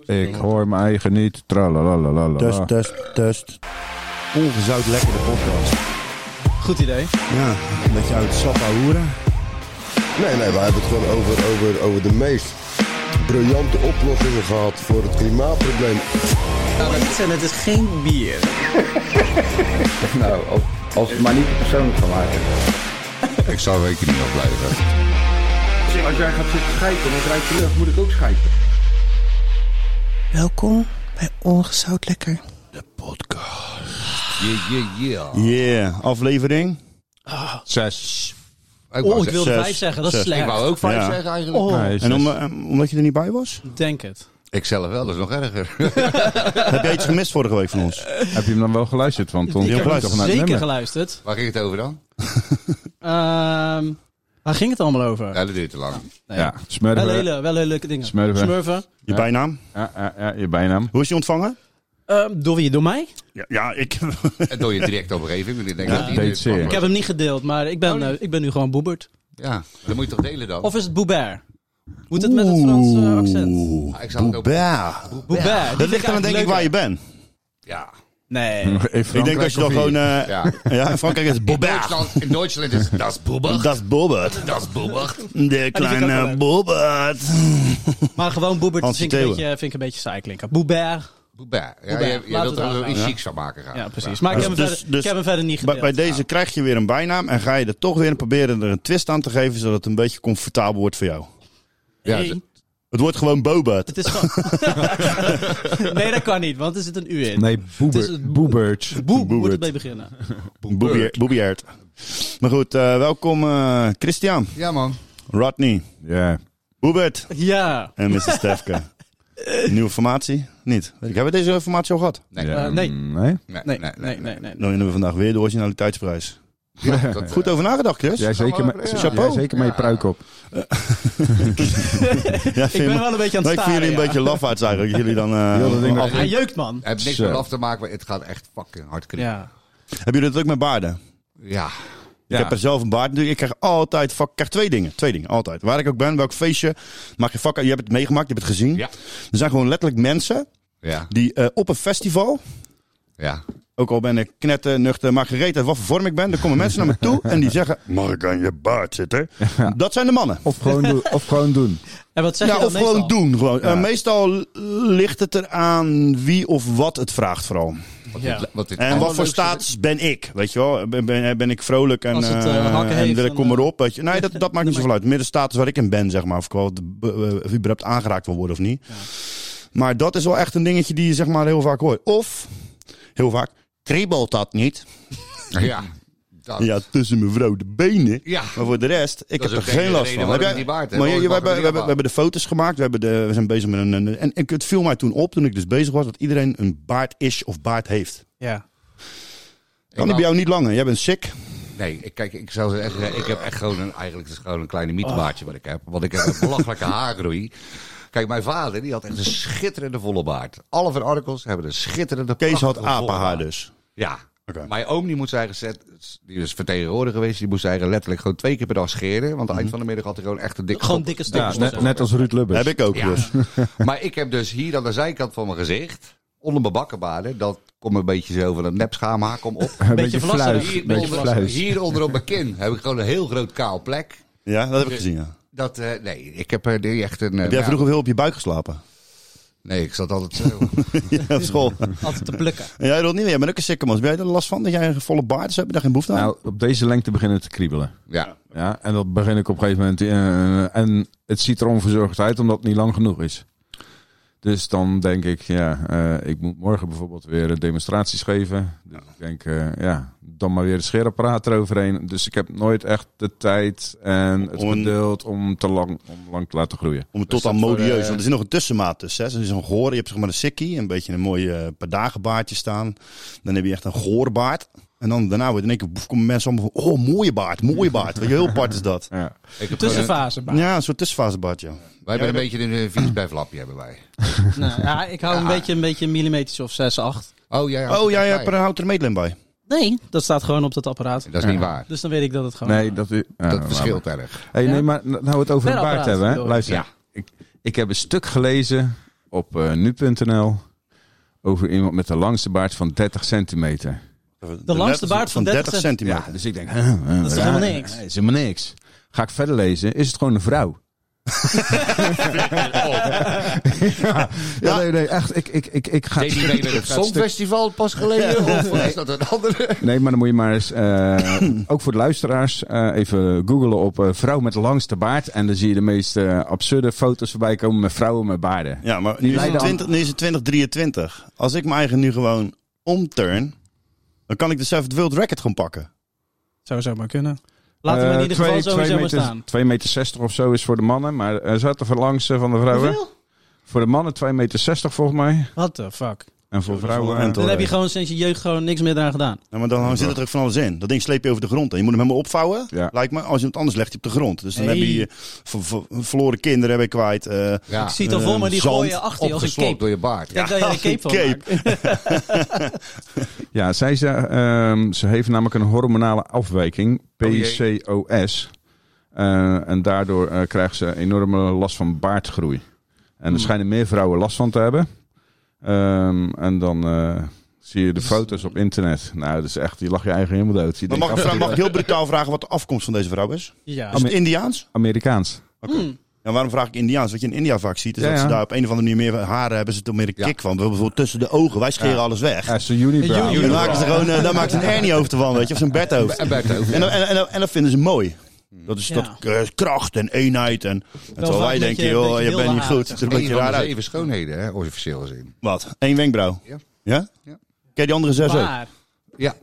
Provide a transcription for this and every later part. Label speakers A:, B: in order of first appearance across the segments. A: Ik hoor mijn eigen niet. Tralalalala.
B: Dus
C: Test, test, test. Ongezout lekkere podcast.
B: Goed idee.
C: Ja, een beetje uit sap hoeren.
D: Nee, nee, we hebben het gewoon over, over, over de meest briljante oplossingen gehad voor het klimaatprobleem.
B: En Nou, het is geen bier.
E: Nou, als, als het maar niet te persoonlijk van maken.
F: Ik zou weken niet afblijven.
E: Als jij gaat zitten schijten en het rijdt je lucht, moet ik ook schijten.
G: Welkom bij Ongezout Lekker.
F: Yeah, yeah, yeah.
C: Yeah, aflevering.
F: Zes. Ik wou,
B: Oh, ik
F: ze-
B: wilde
C: zes,
B: vijf zeggen, dat is
C: zes.
F: ik
B: slecht.
F: wou ook vijf
C: Ja.
F: zeggen eigenlijk.
A: Nee,
C: En om,
A: zes.
C: eh, omdat je er niet bij was?
B: Ik Denk het.
F: Ik zelf wel, dat is nog erger.
C: Heb jij iets gemist vorige week van ons?
A: Heb je hem dan wel geluisterd? Want
C: heb
A: ons
C: hem
A: toch naar het
B: Zeker
A: nummer.
B: geluisterd.
F: Waar ging het over dan?
B: Ehm, waar ging het allemaal over?
F: Ja, dat duurt te lang.
B: Nee.
A: Ja,
B: Wel
A: smurven.
B: hele, wel hele leuke dingen.
A: Smurven.
C: Je bijnaam?
A: Ja, ja, ja, je bijnaam.
C: Hoe is je ontvangen?
B: Ehm, door wie? Door mij?
C: Ja, ik...
F: En door je direct omgeving. want Ik denk
A: Ja,
F: dat die
A: deed
F: dit
A: zeer.
F: mag.
B: Ik heb hem niet gedeeld, maar ik ben, eh, ik ben nu gewoon Boebert.
F: Ja, dan moet je toch delen dan?
B: Of is het Boubert? Moet het met het Franse accent?
C: Oeh,
F: Ik zou het ook-
C: Boeba.
B: Boubert. die
C: Dat
B: vind
C: ligt
B: ik
C: eraan
B: eigenlijk
C: denk ik waar je
B: leuker.
C: bent.
F: Ja.
B: Nee.
A: In Frankrijk
C: ik denk dat je
A: of
C: dan
A: hier?
C: gewoon... eh, ja.
F: Ja.
C: in Frankrijk is het
F: In
C: Boba.
F: Duitsland, in Duitsland is het Das Bobbert.
C: Dat is Bobbert.
F: Das Bobbert.
C: De
B: ook wel
C: kleine
B: leuk.
C: Bobbert.
B: Maar gewoon Boebert
C: Hansi
B: vind ik, een
C: Theeuwen.
B: beetje, vind ik een beetje saai klinken. Boubert.
F: Bobbert. Ja,
B: Bobbert.
F: je, je
B: Laat
F: wilt
B: het
F: er wel
B: aangaan.
F: iets
C: Ja.
F: chiks van maken graag.
B: Ja, precies. Maar ik
C: Dus-
B: heb, hem,
C: dus-
B: verder,
C: dus-
B: ik heb hem verder niet
C: Bij,
B: gedeeld.
C: bij deze krijg je weer een bijnaam en ga je er toch weer proberen er een twist aan te geven, zodat het een beetje comfortabel wordt voor jou.
F: Ja,
B: Nee,
F: ze-
C: Het wordt gewoon Bobert.
B: het is gewoon... nee, dat kan niet, want er zit een U in.
A: Nee, boeber,
B: Het is het-
A: boebert.
B: Boe moet
C: Boebert.
B: het mee beginnen.
C: Boebier- Boebiert. Maar goed, eh, welkom eh, Christian,
F: ja man.
C: Rodney,
A: Ja.
C: Boebert
B: Ja.
C: en Mr. Stefke. Nieuwe formatie? Niet. Weet ik, hebben we deze formatie al gehad?
F: Nee.
A: Ja,
B: Eh, nee.
A: nee.
B: Nee, nee, nee. nee,
C: Dan winnen we vandaag weer de originaliteitsprijs.
F: Ja, dat, eh,
C: Goed over nagedacht, Chris.
A: Jij zeker, met-
F: Ja.
A: jij zeker met je pruik op.
C: Ja,
B: Ik
C: vind me-
B: ben wel een beetje aan
C: Maar
B: het
C: ik vind
B: staren.
C: jullie een
B: ja.
C: beetje lafaards eigenlijk. dat Jullie dan, eh,
A: Heel dat ding
C: af-
A: dat-
B: Hij jeukt, man.
F: Het heeft niks
A: Zo.
F: met af te maken, maar het gaat echt fucking hard knippen.
B: Ja.
C: Hebben jullie dat ook met baarden?
F: Ja.
A: Ja.
C: Ik heb er zelf een baard natuurlijk. Ik krijg altijd fuck, ik krijg twee dingen. Twee dingen, altijd. Waar ik ook ben, welk feestje. Maak je fuck, uit. je hebt het meegemaakt, je hebt het gezien.
F: Ja.
C: Er zijn gewoon letterlijk mensen
F: Ja.
C: die eh, op een festival...
F: Ja.
C: Ook al ben ik knetter, nuchter, maar gereed uit wat voor vorm ik ben. Er komen mensen naar me toe en die zeggen... Mag ik aan je baard zitten? Dat zijn de mannen.
A: Of gewoon doen. Of gewoon doen.
B: En wat zeg
C: Ja,
B: je dan
C: of gewoon
B: meestal?
C: doen. Gewoon. Eh, meestal ligt het eraan wie of wat het vraagt vooral.
B: Ja.
F: Wat dit
C: En wat voor
F: allerleukste-
C: status ben ik? Weet je wel, ben, ben, ben ik vrolijk en,
B: Als het, eh,
C: eh, en
B: hakken heeft,
C: wil ik
B: dan,
C: kom
B: eh,
C: erop? Weet je? Nee, dat, dat maakt niet
B: dan
C: zoveel uit. Meer de status waar ik in ben, zeg maar. Of ik wel eh, eh, überhaupt aangeraakt wil worden of niet. Maar dat is wel echt een dingetje die je zeg maar heel vaak hoort. Of, heel vaak, kriebelt dat niet?
F: Ja. Dat.
C: Ja, tussen mijn rode benen.
F: Oh. Ja.
C: Maar voor de rest, ik heb
F: Dat is
C: er
F: ook de
C: geen
F: enige
C: last
F: reden
C: van.
F: waarom
C: Heb
F: ik die baard heb,
C: maar je-
F: want
C: je-
F: ik
C: we,
F: mag
C: hebben, we,
F: hem
C: hebben,
F: niet
C: we hebben de foto's gemaakt. We, hebben de, we zijn bezig met een... een- en ik, het viel mij toen op, toen ik dus bezig was, dat iedereen een baard is of baard heeft.
B: Ja.
F: Ik
C: Kan die
F: wou-
C: bij jou niet langer? Jij bent sick.
F: Nee, ik, kijk, ik zou zeggen, ik heb echt gewoon een, eigenlijk is het gewoon een kleine
C: Oh.
F: mietenbaardje wat ik heb. Want ik heb een belachelijke haargroei. Kijk, mijn vader die had echt een schitterende volle baard. Alle van Arkels hebben een schitterende
C: Kees had
F: prachtige volle
C: apenhaar
F: baard.
C: dus.
F: Ja.
C: Oké.
F: Mijn oom die moest zijn gezet, die is vertegenwoordiger geweest, die moest zijn letterlijk gewoon twee keer per dag scheren. Want aan
C: Mhm.
F: het eind van de middag had hij gewoon echt een dikke
B: Gewoon
F: kop.
B: dikke
A: Ja,
B: stukjes.
A: net, net als Ruud Lubbers.
C: Heb ik ook
F: Ja.
C: dus.
F: Maar ik heb dus hier aan de zijkant van mijn gezicht, onder mijn bakkenbaarden, dat komt een beetje zo van een nep schaamhaar, kom op.
A: Een
B: beetje vlasserig.
A: fluis,
F: Hier,
A: een beetje
F: onder,
A: fluis.
F: hier onder op mijn kin heb ik gewoon een heel groot kaal plek.
C: Ja, dat heb ik gezien, ja.
F: Dat, eh, nee, ik heb er niet echt een... eh,
C: Heb jij
F: ja,
C: vroeger heel op je buik geslapen?
F: Nee, ik zat altijd zo.
C: Ja, op school.
B: Altijd te plukken.
C: En jij dat niet meer. Jij bent ook een sikke man. Ben jij er last van dat jij een volle baard hebt? Heb je daar geen behoefte aan?
A: Nou, op deze lengte beginnen te kriebelen.
F: ja.
A: Ja, en dat begin ik op een gegeven moment. eh, en het ziet er onverzorgd uit omdat het niet lang genoeg is. Dus dan denk ik, ja, eh, ik moet morgen bijvoorbeeld weer eh, demonstraties geven. Dus ik denk, eh, ja, dan maar weer het scheerapparaat eroverheen. Dus ik heb nooit echt de tijd en het
C: Om-
A: geduld om te lang, om lang te laten groeien.
C: Om het tot
F: dat
C: aan
F: voor,
C: modieus.
F: eh,
C: Want er zit nog een tussenmaat tussen. Hè. Dus er is een goor. Je hebt zeg maar een sikkie. Een beetje een mooi eh, paar dagen baardje staan. Dan heb je echt een goorbaard. En dan daarna wordt in één keer boef, komen mensen allemaal van... Oh, mooie baard. Mooie baard. Weet je, heel apart is dat.
A: Ja.
F: Ik heb gewoon een-
B: Tussenfase. maar.
C: Ja, een soort tussenfasebaard, ja.
F: wij hebben een beetje een eh, vies bijflapje, hebben wij.
B: Nou, ja, ik hou een beetje een beetje millimeters of 6, 8.
F: Oh, jij had
C: Oh, jij
F: een
C: hebt er een houten meetlijn bij.
B: Nee, dat staat gewoon op dat apparaat.
F: Dat is niet waar.
B: Dus dan weet ik dat het gewoon...
A: Nee, dat, is- ja,
F: Dat
A: maar-
F: verschilt erg.
A: Hey,
B: Ja.
A: Nee, maar nou we het over een
B: Verder
A: baard
B: apparaat,
A: hebben. Hè?
B: joh.
A: Luister,
F: Ja.
A: ik, ik heb een stuk gelezen op eh, nu.nl over iemand met de langste baard van 30 centimeter.
C: De
B: langste baard van 30
A: Ja,
C: centimeter.
A: dus ik denk, huh, huh,
B: Dat is
A: raar.
B: helemaal niks.
A: Ja, is helemaal niks. Ga ik verder lezen, is het gewoon een vrouw. ja, ja, nee, nee, echt. Ik, ik, ik, ik ga
F: Deed hij mee met het
A: ik ga het stuk-
F: Songfestival pas geleden? Of is dat een andere?
A: Nee, maar dan moet je maar eens, eh, ook voor de luisteraars, eh, even googlen op eh, vrouw met de langste baard. En dan zie je de meest eh, absurde foto's voorbij komen met vrouwen met baarden.
C: Ja, maar nu is, het
A: leiden
C: 20, nu is het 2023. Als ik mijn eigen nu gewoon omturn, dan kan ik de Seventh World Record gewoon pakken.
B: Zou zo maar kunnen. Eh, Laten we in ieder geval sowieso maar staan.
A: 2 Eh, meter 60 of zo is voor de mannen, maar er zat er van langs eh, van de vrouwen.
B: Hoeveel?
A: Voor de mannen 2 meter 60 volgens mij.
B: What the fuck?
A: En voor
C: Zo, dat
A: vrouwen... eh,
C: is wel een
B: Dan heb je gewoon sinds je jeugd gewoon niks meer aan gedaan.
C: Ja, maar dan zit het er ook van alles in. Dat ding sleep je over de grond. En je moet hem helemaal opvouwen,
A: Ja.
C: lijkt me. Als je het anders legt, je op de grond. Dus dan
B: Hey.
C: heb je eh, ver- ver- verloren kinderen heb je kwijt. eh,
F: Ja,
B: Ik zie het al voor me, die
C: Ehm,
B: gooien
C: zand
B: achter je als een
F: opgeslokt
B: cape.
F: door je baard.
B: Ik denk dat je er een cape van maakt.
A: Ja, zij ze, ehm, ze heeft namelijk een hormonale afwijking,
C: Oh
F: jee.
A: PCOS. Eh, en daardoor eh, krijgt ze enorme last van baardgroei. En
C: Hmm.
A: er schijnen meer vrouwen last van te hebben. Ehm, en dan eh, zie je
C: Dus-
A: de foto's op internet. Nou, dat is echt, je lag je eigen helemaal dood. Je
C: Maar
A: denkt,
C: mag,
A: af-
C: ik vra- mag ik heel brutaal vragen wat de afkomst van deze vrouw is?
B: Ja.
C: Is het Indiaans?
A: Amerikaans.
C: En waarom vraag ik Indiaans? Wat je in India vaak ziet, is
A: Ja,
C: dat ze
A: ja.
C: daar op een of andere manier meer haren hebben. Ze toch meer een
F: Ja.
C: kick van. Bijvoorbeeld tussen de ogen. Wij scheren alles weg.
A: Ja, ze unibrow.
C: Dan maken ze gewoon, eh, daar maken ze een Ernie hoofd van, weet je, of zo'n bedhoofd.
F: En bij het over.
C: En, dan- en, dan- en, dan- en dat vinden ze mooi. Dat is
B: Ja.
C: dat eh, kracht en eenheid. En, en terwijl
B: vaak
C: wij
B: met
C: denken,
B: je-
C: joh,
B: met je
C: je bent
B: wilde
C: niet
B: haren,
C: goed. Het
B: zeg
C: ziet er een beetje
F: Een van
C: raar
F: de
C: uit.
F: zeven schoonheden, hè, officieel gezien.
C: Wat? Eén wenkbrauw?
F: Ja.
C: Ja?
F: Ja.
C: Kijk die andere zes ook.
B: Maar,
F: Ja.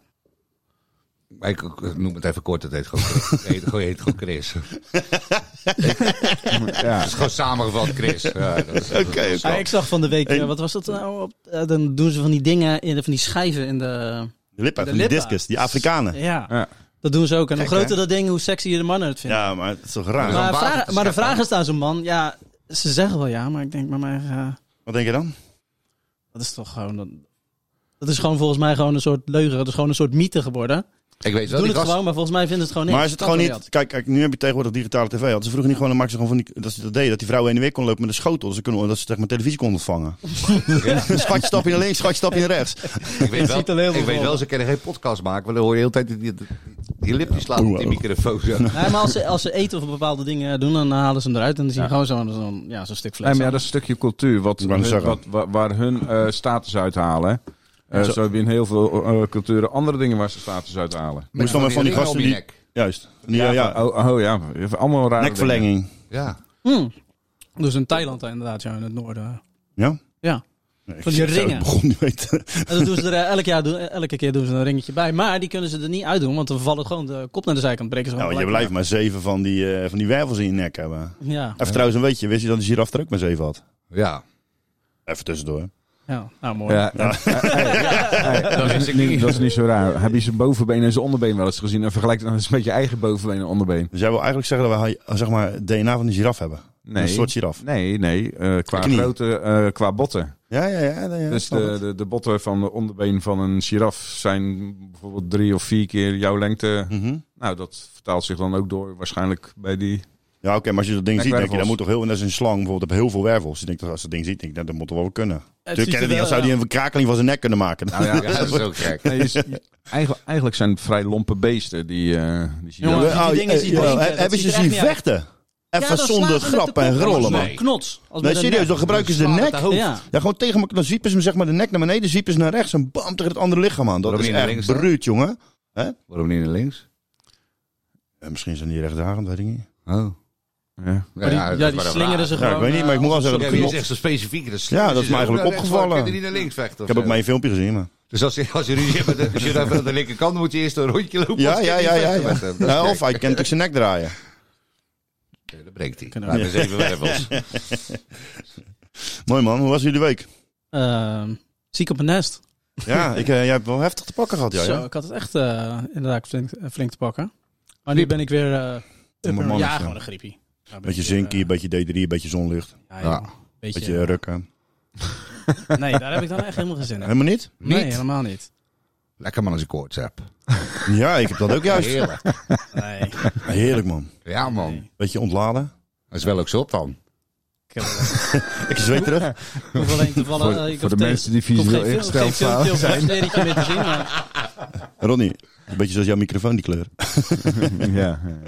F: Maar Ik ik noem het even kort, het heet gewoon Chris. Nee, het gewoon- heet gewoon Chris. Het
A: Ja.
F: is gewoon samengevat Chris. Ja, dat is-
C: Oké,
B: ah, ik zag van de week, eh, wat was dat nou? Op, eh, dan doen ze van die dingen, in, van die schijven in de...
C: De lippen,
B: De
C: van die
B: lippen.
C: discus, die Afrikanen.
B: Ja,
A: Ja.
B: dat doen ze ook. En hoe
C: Gek,
B: groter dat ding, hoe sexier de mannen het vinden.
C: Ja, maar het is toch raar?
F: Ja.
B: maar,
F: Zo'n water
B: vraag-
F: te
B: maar de
F: scheppen.
B: vraag is aan zo'n man, ja, ze zeggen wel ja, maar ik denk bij mij, eh,
C: Wat denk je dan?
B: dat is toch gewoon... Dat, dat is gewoon volgens mij gewoon een soort leugen. Dat is gewoon een soort mythe geworden.
F: Ik weet
B: Ze doen
F: wel, die
B: het
F: gast
B: gewoon, maar volgens mij vinden ze het gewoon niks.
C: Maar is het
B: Dat
C: gewoon
B: kan
C: niet... Kijk, kijk, nu heb je tegenwoordig digitale tv. Hadden ze vroeger niet gewoon... Dan maakten ze gewoon van die... Dat ze dat deden. Dat die vrouwen heen en weer kon lopen met een schotel. Dus ze kunnen, dat ze zeg maar televisie konden ontvangen. schatje stap je naar links, schatje stap je naar rechts.
F: Ik weet
B: ziet er heel
F: wel,
B: veel
F: ik weet
B: voor.
F: wel ze kunnen geen podcast maken, want dan hoor je de hele tijd die, die, die lipjes slaan op die microfoon. zo.
B: Nee, maar als ze, als ze eten of bepaalde dingen doen, dan halen ze hem eruit. En dan zie je gewoon zo'n zo'n- ja, zo'n stuk
A: Nee,
B: vlees.
A: maar ja, dat is een stukje cultuur wat,
C: Ik wou net
A: hun-
C: zeggen.
A: wat, wa- waar hun eh, status uithalen. Eh
C: Zo-
A: zo hebben we in heel veel eh, culturen andere dingen waar ze status uithalen.
C: Moest dan maar van die
F: ringen
C: gasten
F: om je
C: die-
F: nek.
C: Juist. Ja, ja.
A: Oh, oh ja, allemaal rare dingen.
C: Nekverlenging.
F: Ja.
B: Dus in Thailand inderdaad, ja, in het noorden.
C: Ja?
B: Ja.
C: Nee,
B: Van die
C: ik zou het
B: ringen.
C: begon niet weten.
B: En dat doen ze er eh, elk jaar, doen, eh, elke keer doen ze een ringetje bij. Maar die kunnen ze er niet uitdoen, want dan vallen gewoon de kop naar de zijkant. Breken ze
C: Ja,
B: gewoon
C: want Nou, je
B: gelijk.
C: blijft maar zeven van die, eh, van die wervels in je nek hebben.
B: Ja,
C: Even trouwens een beetje. Wist je dat de giraf er ook maar zeven had?
F: Ja.
C: Even tussendoor.
B: ja, nou mooi.
A: Ja, en- Hey, dat, is niet, dat is niet zo raar. Heb je zijn bovenbeen en zijn onderbeen wel eens gezien? En vergelijk het dan eens met je eigen bovenbeen en onderbeen.
C: Dus jij wil eigenlijk zeggen dat wij eh, zeg maar, het DNA van de giraf hebben?
A: Nee.
C: Een soort giraf?
A: Nee, nee. eh, qua
C: De knie.
A: grootte, eh, qua botten.
C: Ja, ja, ja. ja, ja,
A: dus
C: snap
A: de,
C: het.
A: de, de botten van de onderbeen van een giraf zijn bijvoorbeeld drie of vier keer jouw lengte.
C: Mhm.
A: Nou, dat vertaalt zich dan ook door waarschijnlijk bij die...
C: Ja, oké, maar als je dat ding
A: Kijk,
C: ziet, denk
A: wervels.
C: je, dat moet toch heel... Dat is een slang bijvoorbeeld, heb heel veel wervels. Je denkt, toch, als je dat ding ziet, denk ik, nou, dat moet toch wel kunnen. Natuurlijk
B: ziet er eh,
C: kennen die,
B: wel-
C: als zou die een krakeling van zijn nek kunnen maken.
A: Nou ja,
F: ja, dat is ook gek.
A: nee, is- eigenlijk, eigenlijk zijn het vrij lompe beesten die, eh die
B: Ja,
A: giraffen.
B: maar- die dingen
C: eh,
B: zien drinken, dat
C: hebben
B: ziet
C: ze
B: er echt
C: zien
B: niet uit.
C: vechten? Even
B: Ja, dan
C: zonder
B: slaan ze met
C: grap
B: de
C: en
B: kop.
C: rollen, man.
B: Nee, knots. Als
C: Nee,
B: met een
C: serieus, dan
B: nek.
C: gebruiken ze de
F: Slaat
C: nek.
F: het hoofd.
B: Ja.
C: Ja, gewoon tegen elkaar. Dan zwiepen ze hem zeg maar de nek naar beneden, zwiepen ze naar rechts en bam tegen het andere lichaam aan. Dat
F: Waarom
C: is
F: niet naar
C: echt
F: links dan?
C: bruut, jongen.
F: Waarom niet naar links?
C: Eh, misschien zijn die rechterhand, weet ik niet.
F: Oh.
A: Ja.
B: Maar die- ja, die slingeren ze
C: Ja,
B: gewoon.
C: ik weet niet, maar ik
B: eh,
C: moet wel zeggen
F: Ja,
C: dat
F: maar je
C: klopt.
F: zegt zo specifiek. Dat
C: Ja, dat is me eigenlijk opgevallen.
F: Kun je niet naar links vechten?
C: Ik
F: of
C: heb ook
F: zo?
C: mijn filmpje gezien, maar...
F: Dus als je, als je ruzie hebt met de giraffe aan de linkerkant, moet je eerst een rondje lopen.
C: Ja,
F: als je
C: ja,
F: niet
C: ja, ja. ja.
F: vechten met eh, hem. Dat is
C: Nou,
F: gek.
C: of hij kent ook zijn nek draaien.
F: Ja, Dat breekt hij.
B: Kunnen
F: Nou, dat is even wervels.
C: Mooi man, hoe was jullie week?
B: ehm, ziek op een nest.
C: Ja, ik, eh, jij hebt wel heftig te pakken gehad, ja.
B: Zo,
C: ja?
B: ik had het echt eh, inderdaad flink, eh, flink te pakken. Maar nu ben ik weer... eh, up and-
C: mannetje.
B: ja, gewoon een griepie. Ja, ben
C: Beetje
B: ik weer,
C: zinkie,
B: eh,
C: beetje D3, beetje zonlicht,
B: ja,
F: Ja.
B: joh, Beetje,
C: beetje rukken.
B: Nee, daar heb ik dan echt helemaal geen zin in.
C: Helemaal niet?
B: Nee,
F: Niet?
B: helemaal niet.
F: Lekker man als ik koorts heb.
C: Ja, ik heb dat ook juist.
F: Heerlijk.
B: Nee.
C: Heerlijk man.
F: Ja man.
C: Beetje ontladen.
F: Dat is wel ook zo op dan.
B: Ik heb er
C: Ik zweet terug.
B: Ik hoef alleen te vallen.
A: Voor-
B: eh, ik
A: voor
B: hoef
A: de
B: te-
A: mensen die
B: ik hoef
A: visueel
B: geen fil-
A: ingesteld
B: geen filmpje of
A: zijn.
B: een serietje meer te zien, maar
C: Ronnie, een beetje zoals jouw microfoon, die kleur.
A: ja, ja, ja,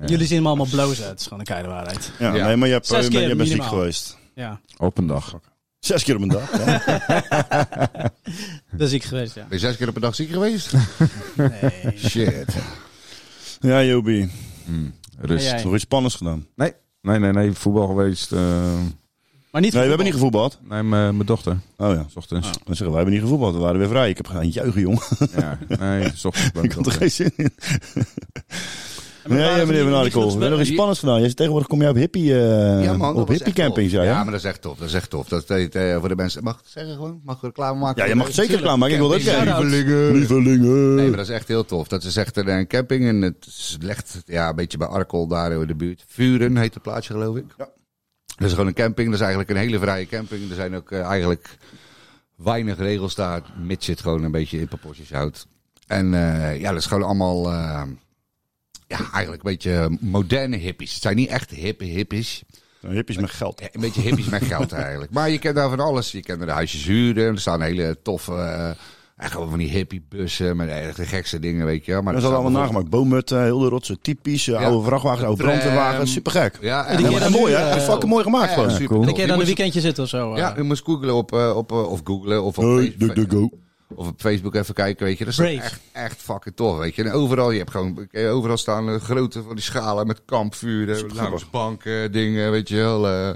A: ja.
B: Jullie zien hem allemaal blozen. Het is gewoon een keiharde waarheid.
C: Ja,
F: Ja.
C: Nee, maar je hebt,
B: Zes
C: eh, ben- je
B: keer
C: bent ziek
B: minimaal.
C: geweest.
B: Ja,
A: Op een dag.
C: Zes keer op een dag. Ja.
B: dat is ik geweest, ja.
F: Ben je zes keer op een dag ziek geweest?
B: Nee.
F: Shit.
C: ja, Jobi.
A: Hm, Rust.
B: Ja, jij.
C: Nog iets spannends gedaan.
A: Nee, nee, nee. Voetbal geweest. eh,
B: Maar niet
C: Nee, we hebben niet gevoetbald.
A: nee, mijn mijn dochter.
C: Oh ja.
A: S ochtends.
C: Dan zeggen we, we hebben niet gevoetbald. We waren weer vrij. Ik heb gaan juichen, jong.
A: Ja, nee, s ochtends. bij
C: Ik
A: mijn
C: had er
A: dochter.
C: geen zin in. Nee, meneer Van Arkel. We hebben nog iets spannends gedaan. Jij- Tegenwoordig kom je op hippie, eh,
F: Ja, man, dat
C: op
F: was
C: hippie
F: echt
C: camping,
F: tof.
C: zei je?
F: Ja, maar dat is echt tof. Dat is echt tof. Dat deed eh, voor de mensen. Mag ik het zeggen gewoon? Mag ik reclame maken?
C: Ja, je mag het zeker klaar, maar ik wil dat
F: Camping,
C: jij.
F: lievelingen.
C: Lievelingen.
F: Nee, maar dat is echt heel tof. Dat is echt een, een camping en het is legt ja, een beetje bij Arkel daar in de buurt. Vuren heet het plaatsje, geloof ik. Ja. Dat is gewoon een camping. Dat is eigenlijk een hele vrije camping. Er zijn ook eh, eigenlijk weinig regels daar, mits je het gewoon een beetje in proporties houdt. En eh, ja, dat is gewoon allemaal eh, ja, eigenlijk een beetje moderne hippies. Het zijn niet echt hippe hippies.
C: Nou, hippies met geld.
F: Ja, een beetje hippies met geld eigenlijk. Maar je kent daar van alles. Je kent er de huisjes huren. Er staan hele toffe... eh, echt gewoon van die hippiebussen met echt de gekste dingen, weet je wel. Maar
C: Dat is
F: er
C: allemaal
F: staan
C: nagemaakt. Boommutten, heel de rotsen, typisch. eh, Oude vrachtwagens, oude
F: Tram.
C: brandweerwagens. Supergek.
F: Ja,
B: Die
C: Ja,
B: keer
C: maar
B: dan
C: mooi,
B: nu,
C: hè?
B: eh,
C: Fucking mooi gemaakt,
F: Ja,
C: gewoon.
F: super
A: cool.
F: tof.
B: Een keer
F: Je
B: dan een
F: moest-
B: weekendje zitten of zo. eh.
F: Ja, je moest googlen op, eh, op, eh, of googlen of op,
C: Nee,
F: Facebook-
C: de- de go.
F: of op Facebook even kijken, weet je. Dat is
B: Brave.
F: echt, echt fucking tof, weet je. En overal, je hebt gewoon, eh, overal staan eh, grote van die schalen met kampvuren, langs banken, dingen, weet je wel. eh.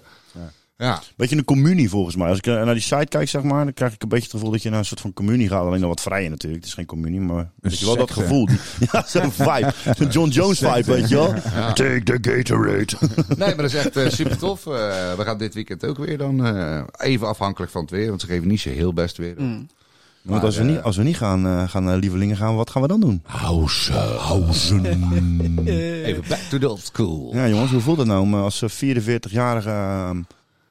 F: ja.
C: Beetje een communie volgens mij. Als ik eh, naar die site kijk, zeg maar, dan krijg ik een beetje het gevoel dat je naar een soort van communie gaat. Alleen dan wat vrijer natuurlijk. Het is geen communie, maar weet je wel dat
A: secte.
C: gevoel. Die- Ja, zo'n vibe. Zo'n John Jones vibe, weet je wel. Take the Gatorade.
F: Nee, maar dat is echt eh, super tof. Eh, we gaan dit weekend ook weer dan. eh, even afhankelijk van het weer, want ze geven niet zo heel best weer.
B: Mm.
C: Want als we
F: eh, Oh.
C: niet, als we niet gaan, eh, gaan naar Lievelingen gaan, wat gaan we dan doen?
F: House.
B: Eh,
F: Even back to the old school.
C: Ja jongens, hoe voelt het nou om eh, als eh, 44-jarige eh,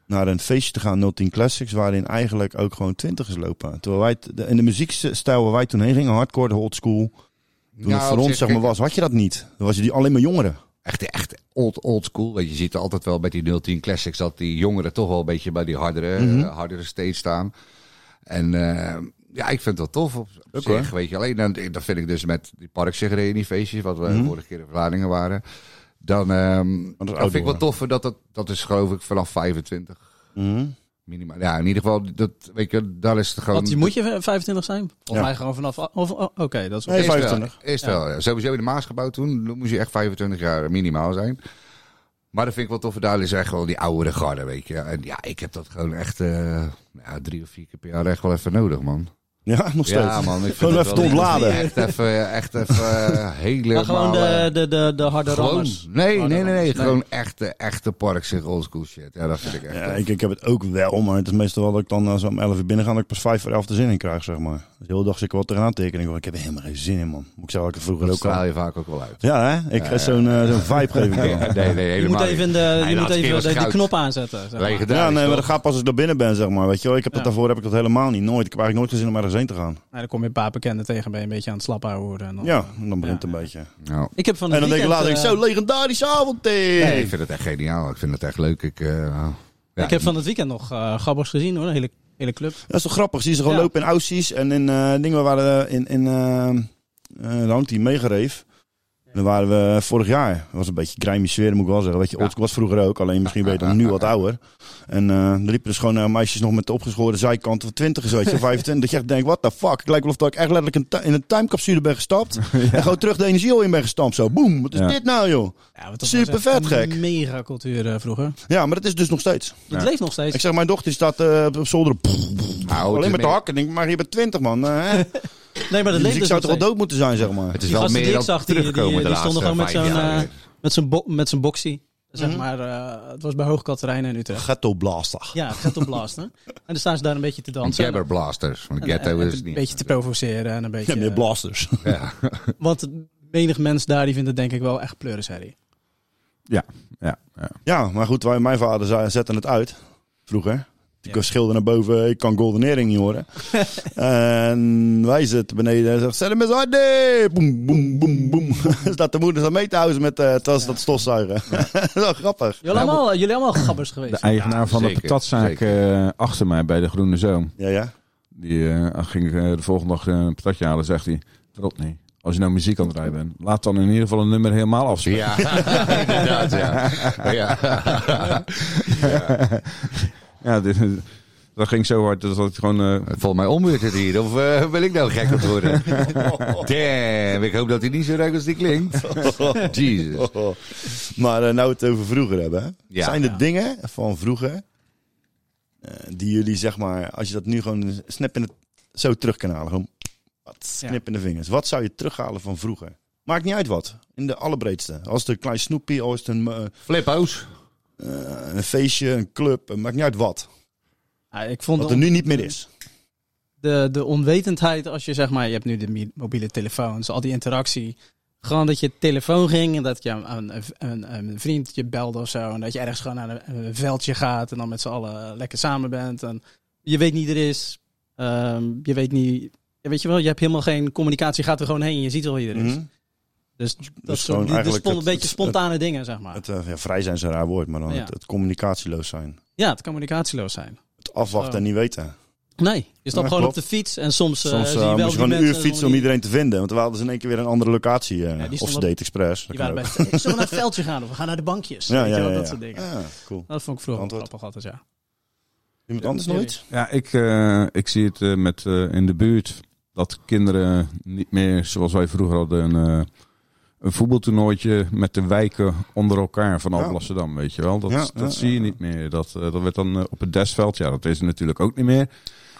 C: naar een feestje te gaan, 010 Classics, waarin eigenlijk ook gewoon 20 lopen. Terwijl wij, t- de- in de muziekstijl waar wij toen heen gingen, hardcore, de old school, toen
F: Nou,
C: het
F: op
C: voor ons
F: zich,
C: zeg maar
F: kijk,
C: was, had je dat niet. Dan was je die alleen maar jongeren.
F: Echt, echt old, old school. Weet je, je ziet altijd wel bij die 010 Classics dat die jongeren toch wel een beetje bij die hardere,
C: Mhm.
F: eh, hardere stage staan. En eh, ja, ik vind dat tof op, op zich. Weet je, alleen dan, dan vind ik dus met die parkserenity feestjes, wat we
C: Mhm.
F: vorige keer in Vlaardingen waren. Dan, ehm dat vind ik wel
C: outdoor.
F: tof, dat, dat, dat is geloof ik vanaf 25
C: Mhm.
F: Minimaal. Ja, in ieder geval, dat, weet je, daar is het gewoon...
B: Want je moet je 25 zijn? Volgens
C: Ja.
B: mij gewoon vanaf... of- oh, Oké, dat is...
C: Nee,
F: Eerst wel,
C: 25.
F: Eerst
B: Ja.
F: wel. ja. Sowieso in de Maasgebouw toen dan moest je echt 25 jaar minimaal zijn. Maar dat vind ik wel tof. Daar is echt wel die oudere garde, weet je. En ja, ik heb dat gewoon echt eh, ja, drie of vier keer per jaar echt wel even nodig, man.
C: Ja, nog steeds.
F: Ja, man. Ik vind
C: Gewoon
F: het
C: even
F: wel
C: te ontladen.
F: Echt even, echt even eh, hele
B: Maar gewoon de,
C: eh,
F: normale-
B: de, de, de harde
F: Gewoon-
B: rammers.
F: nee, nee, nee, nee,
B: rammers, nee.
F: Gewoon echte, echte parkse oldschool shit. Ja, dat vind ik echt
C: Ja,
F: tof.
C: ik, ik heb het ook wel, maar het is meestal wel dat ik dan als om 11 uur binnen ga, dat ik pas 5 voor 11 de zin in krijg, zeg maar. Dus de hele dag zit ik wel tegenaan tekenen. Ik, denk, ik heb er helemaal geen zin in, man. Moet ik zeggen, dat ik er vroeger
F: Dat
C: ook al...
F: straal je vaak ook wel uit.
C: Ja, hè? Ik
F: Ja,
C: ga zo'n eh, zo'n vibe geven.
F: Nee,
C: Ja,
F: nee, helemaal
B: Je moet
F: niet.
B: even, de, je
F: laatste
B: moet
F: keer
B: even
F: was
B: de, die
F: goud.
B: knop aanzetten. Zeg maar.
F: Legendarisch,
C: nee, maar
F: toch?
C: dat gaat pas als ik daar binnen ben, zeg maar. Weet je wel, ik heb dat
B: Ja.
C: daarvoor heb ik dat helemaal niet. Nooit. Ik heb eigenlijk nooit gezin om ergens heen te gaan.
B: Nou, dan kom je een paar bekenden tegen, ben je een beetje aan het slap worden. En dan...
C: Ja, en dan begint het een beetje.
F: Nou.
B: Ik heb Oh.
C: En
B: van het
C: dan denk ik
B: weekend,
C: later, ik,
B: eh,
C: zo legendarische avond, eh.
F: Nee, ik vind het echt geniaal. Ik vind het echt leuk. Ik, eh, ja,
B: ik heb van het weekend nog eh grappers gezien hoor, de hele, hele club.
C: Dat is toch grappig? Zie ze gewoon
B: Ja.
C: lopen in Aussies en in eh, dingen waar we waren in, in eh eh, de hand die meegereef. Dan waren we vorig jaar. Dat was een beetje grimy sfeer, moet ik wel zeggen. Weet je,
F: Ja.
C: old was vroeger ook, alleen misschien ben je dan nu wat ouder. En eh dan liepen dus gewoon eh, meisjes nog met de opgeschoren zijkant van 20 zo, weet je, 25. Dat je echt denkt, what the fuck? Het lijkt wel of dat ik echt letterlijk een ti- in een timecapsule ben gestapt. En gewoon terug de energie al in ben gestampt. Zo, boem, wat is
A: Ja.
C: dit nou, joh?
B: Ja, wat dat
C: Super
B: was echt
C: vet,
B: een
C: gek.
B: Mega cultuur eh, vroeger.
C: Ja, maar dat is dus nog steeds.
B: Het leeft nog steeds.
C: Ik zeg, mijn dochter die staat eh, op zolder.
F: Nou, het is
C: alleen met de
F: meer-
C: hakken. Ik denk, maar je bent 20, man. eh, hè?
B: nee, maar dat
C: Die muziek
B: leeft dus
C: zou
B: nog
C: toch wel
B: steeds.
C: dood moeten zijn, zeg maar.
F: Het is
B: Die
F: wel
B: gasten
F: meer
B: die ik
F: dan
B: zag, die-
F: terugkomen
B: die-
F: de
B: die
F: laatste
B: stonden gewoon met
F: vijf
B: zo'n,
F: jaar.
B: eh, Met zijn bo- met zijn boxie. Zeg
C: Mhm.
B: maar, eh, het was bij Hoogkaterijnen in Utrecht.
C: Ghetto blaster.
B: Ja, het gaat om blasten. En dan staan ze daar een beetje te
F: Een
B: dansen.
F: Jabber Blasters. Van de
B: En-
F: ghetto
B: en- en
C: dus
F: is het
B: Een
F: niet.
B: beetje te provoceren en een beetje... eh,
C: Ja, meer blasters.
F: Ja.
B: want menig mens daar, die vindt het denk ik wel echt pleurenserie.
A: Ja, ja.
C: Ja, maar goed, wij, mijn vader zei- zette het uit. Vroeger. Die kan schilder naar boven, ik kan Golden Earring niet horen. en wij zitten beneden en zegt, zet hem eens hard neer. Boem, boem, boem, boem. Staat de moeder aan mee te houden met, eh terwijl ze dat stofzuigen. dat is wel grappig.
B: Jullie allemaal, jullie allemaal gabbers
A: De
B: geweest.
A: eigenaar
F: Ja,
A: van de
F: zeker,
A: patatzaak eh, achter mij bij de Groene Zoom.
C: Ja, ja.
A: Die eh, ging eh, de volgende dag eh, een patatje halen. Zegt hij, Rot niet. Als je nou muziek aan het rijden bent, laat dan in ieder geval een nummer helemaal afspelen.
F: Ja, inderdaad, ja. ja.
A: Ja, dit, dat ging zo hard dat het gewoon... eh,
F: Volgens mij omweert het hier, of eh, ben ik nou gek aan het worden? Damn, ik hoop dat hij niet zo ruikt als die klinkt. Jesus.
C: Oh. Maar eh, nou we het over vroeger hebben. hè.
F: Ja.
C: Zijn er dingen van vroeger eh, die jullie zeg maar, als je dat nu gewoon snap in het, zo terug kan halen, gewoon wat,
B: Ja.
C: knip in de vingers. Wat zou je terughalen van vroeger? Maakt niet uit wat. In de allerbreedste. Als het een klein snoepie, als het een, eh,
F: Flippo's.
C: eh, een feestje, een club, eh, maakt niet uit wat.
B: Ja, ik vond
C: Wat er nu niet meer is.
B: de, de onwetendheid als je zeg maar, je hebt nu de mi- mobiele telefoons, al die interactie. Gewoon dat je telefoon ging en dat je een, een, een, een vriend je belde of zo. En dat je ergens gewoon naar een, een veldje gaat en dan met z'n allen lekker samen bent. En je weet niet er is. Ehm, je weet niet. ja, Weet je wel, je hebt helemaal geen communicatie. Je gaat er gewoon heen en je ziet wel wie er is.
C: Mhm.
B: Dus dat
C: Dus
B: is
C: gewoon
B: dus een
C: eigenlijk het-
B: beetje
C: het-
B: spontane dingen, zeg maar.
C: Het, eh, ja, vrij zijn is een raar woord, maar dan
B: Ja.
C: het, het communicatieloos zijn.
B: ja, het communicatieloos zijn.
C: Het afwachten
B: Zo.
C: en niet weten.
B: Nee, je stapt
C: Ja,
B: gewoon
C: klopt.
B: op de fiets en soms, eh,
C: Soms
B: zie
C: eh
B: je wel
C: moest je gewoon
B: die
C: een uur
B: mensen
C: fietsen om
B: die-
C: iedereen te vinden. Want we hadden ze in één keer weer een andere locatie. eh,
B: die
C: of ze
B: stonden-
C: deed expres. Dat
B: Die
C: kan
B: waren
C: ook.
B: best, hey, zullen we naar het veldje gaan of we gaan naar de bankjes?
C: Ja,
B: Weet
C: ja,
B: je
C: ja,
B: wel,
C: ja.
B: dat soort dingen.
C: Ja, cool.
B: Dat vond ik vroeger wel
C: Antwoord.
B: grappig altijd, ja.
C: Iemand anders nog
B: Ja.
C: iets?
A: Ja, ik, eh, ik zie het eh, met, eh, in de buurt dat kinderen niet meer zoals wij vroeger hadden een, eh, een voetbaltoernooitje met de wijken onder elkaar van
C: Ja.
A: Alblasserdam, weet je wel. Dat,
C: Ja,
A: dat
C: ja,
A: zie je
C: ja.
A: niet meer. Dat, eh, dat werd dan eh, op het Desveld, ja dat is er natuurlijk ook niet meer,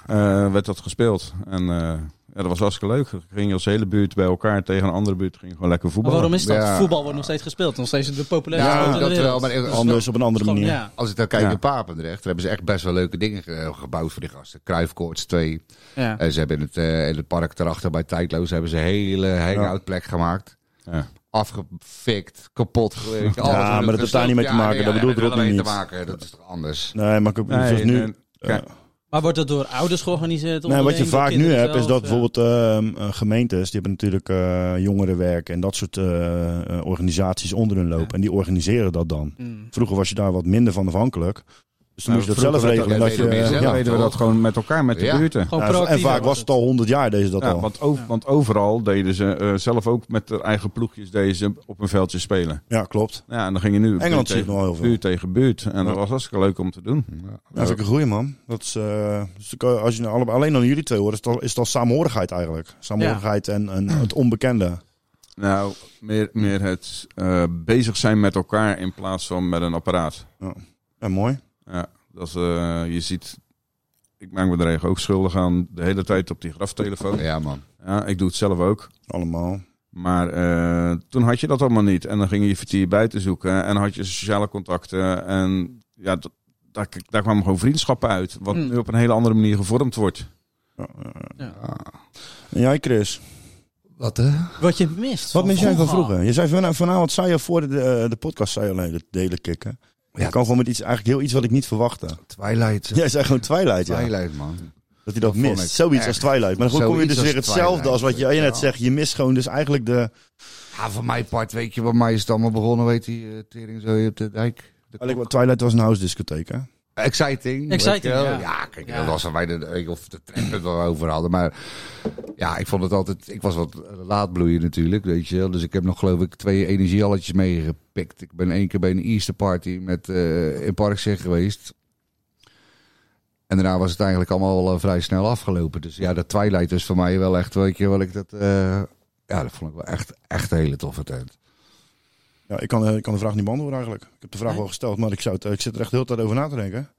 A: eh, werd dat gespeeld. En eh, ja, dat was hartstikke leuk. Dan Ging je als hele buurt bij elkaar tegen een andere buurt, ging je gewoon lekker
B: Maar
A: voetballen.
B: waarom is dat?
F: Ja.
B: Voetbal wordt nog steeds gespeeld. Nog steeds de populairste
F: Ja,
B: sport in de
F: dat wel.
B: wereld.
F: Maar eh,
C: Anders op een andere
B: Gewoon,
C: manier.
B: ja.
F: als ik dan kijk
A: Ja.
F: naar Papendrecht, daar hebben ze echt best wel leuke dingen ge- gebouwd voor die gasten. Kruifkoorts 2.
B: Ja.
F: En ze hebben in het, eh, in het park daarachter bij Tijdloos hebben ze een hele hangout plek gemaakt.
A: Ja.
F: Afgefikt, kapot gewerkt.
C: Ja, maar dat heeft daar niet mee te maken, dat bedoel ik er ook
F: niet.
C: niet.
F: te maken, dat is toch anders.
C: Nee, maar ik heb
A: Nee,
C: zoals nu. eh,
A: nee, kijk,
B: Maar wordt dat door ouders georganiseerd?
C: Nee, wat je
B: onderling, door
C: vaak nu
B: kinderen
C: hebt, is
B: zelf?
C: dat
B: Ja.
C: bijvoorbeeld ehm, eh, gemeentes, die hebben natuurlijk eh, jongerenwerk en dat soort eh, eh, organisaties onder hun lopen.
B: Ja.
C: En die organiseren dat dan.
B: Mm.
C: Vroeger was je daar wat minder van afhankelijk. Dus dan
A: nou,
C: moest je dat
A: vroeger
C: zelf
A: werd
C: regelen. Dat
F: dat- dat
C: je, eh, ja.
F: deden we
A: zelf
F: ja.
A: deden we dat gewoon met elkaar, met de
F: Ja.
A: buurten.
B: Gewoon
C: Ja, en
B: proactief
C: vaak was het al honderd jaar, deze dat
A: Ja,
C: al.
A: want, over,
B: Ja.
A: want overal deden ze eh, zelf ook met hun eigen ploegjes deze op een veldje spelen.
C: Ja, klopt.
A: Ja, en dan ging je nu
C: Engeland
A: buurt
C: zit nog
A: tegen,
C: wel heel veel.
A: buurt tegen buurt. En
C: Ja.
A: dat was hartstikke leuk om te doen.
C: Ja, vind ik een goeie, man. Dat is, eh, dus ik, eh, als je nou alle, alleen aan jullie twee hoort, is het al, is het al saamhorigheid eigenlijk. Saamhorigheid en, en het onbekende.
A: Nou, meer, meer het eh, bezig zijn met elkaar in plaats van met een apparaat.
C: Ja, mooi.
A: Ja, dat, is, eh, je ziet, ik maak me er eigenlijk ook schuldig aan de hele tijd op die graftelefoon.
F: Oh, Ja, man.
A: Ja, ik doe het zelf ook.
C: Allemaal.
A: Maar eh, toen had je dat allemaal niet. En dan ging je vertier buiten zoeken. En had je sociale contacten. En ja, dat- daar, daar kwamen gewoon vriendschappen uit. Wat
B: Hmm.
A: nu op een hele andere manier gevormd wordt.
C: Ja, ja, ja.
B: Ja.
C: En jij, Chris?
F: Wat, hè?
B: Wat je mist.
C: Wat mis jij van
B: vroeger?
C: vroeger? Je zei van, vanavond zei je voor de, eh, de podcast, zei je alleen de hele kikken.
F: Ja.
C: Ik kan gewoon met iets, eigenlijk heel iets wat ik niet verwachtte.
F: Twilight.
C: Jij zei gewoon Twilight, ja.
F: Twilight, man.
C: Dat hij dat,
F: Dat vond
C: mist.
F: ik
C: Zoiets
F: echt.
C: als Twilight. Maar dan kom je
F: Zoiets
C: dus
F: als
C: weer hetzelfde
F: Twilight.
C: als wat jij net
F: Ja.
C: zegt. Je mist gewoon dus eigenlijk de...
F: Ja, van mijn part, weet je, bij mij is het allemaal begonnen, weet die eh tering zo op de dijk. De
C: Eigenlijk,
F: kok.
C: wat Twilight was een house discotheek, hè?
F: Exciting. weet
B: Exciting,
F: je wel.
B: ja.
F: kijk,
B: Ja.
F: dat was waar wij de, ik- of de treppen waar we over hadden. Maar ja, ik vond het altijd... Ik was wat laat bloeien natuurlijk, weet je wel. Dus ik heb nog geloof ik twee energiealletjes meegepikt. Ik ben één keer bij een Easter party met, eh in Parkzicht geweest. En daarna was het eigenlijk allemaal wel eh, vrij snel afgelopen. Dus ja, dat Twilight is voor mij wel echt, weet je wel, ik dat... eh, ja, dat vond ik wel echt, echt een hele toffe tent.
C: Ja, ik kan, eh, ik kan de vraag niet beantwoorden eigenlijk. Ik heb de vraag
B: Nee?
C: wel gesteld, maar ik, zou het, eh, ik zit er echt de hele tijd over na te denken.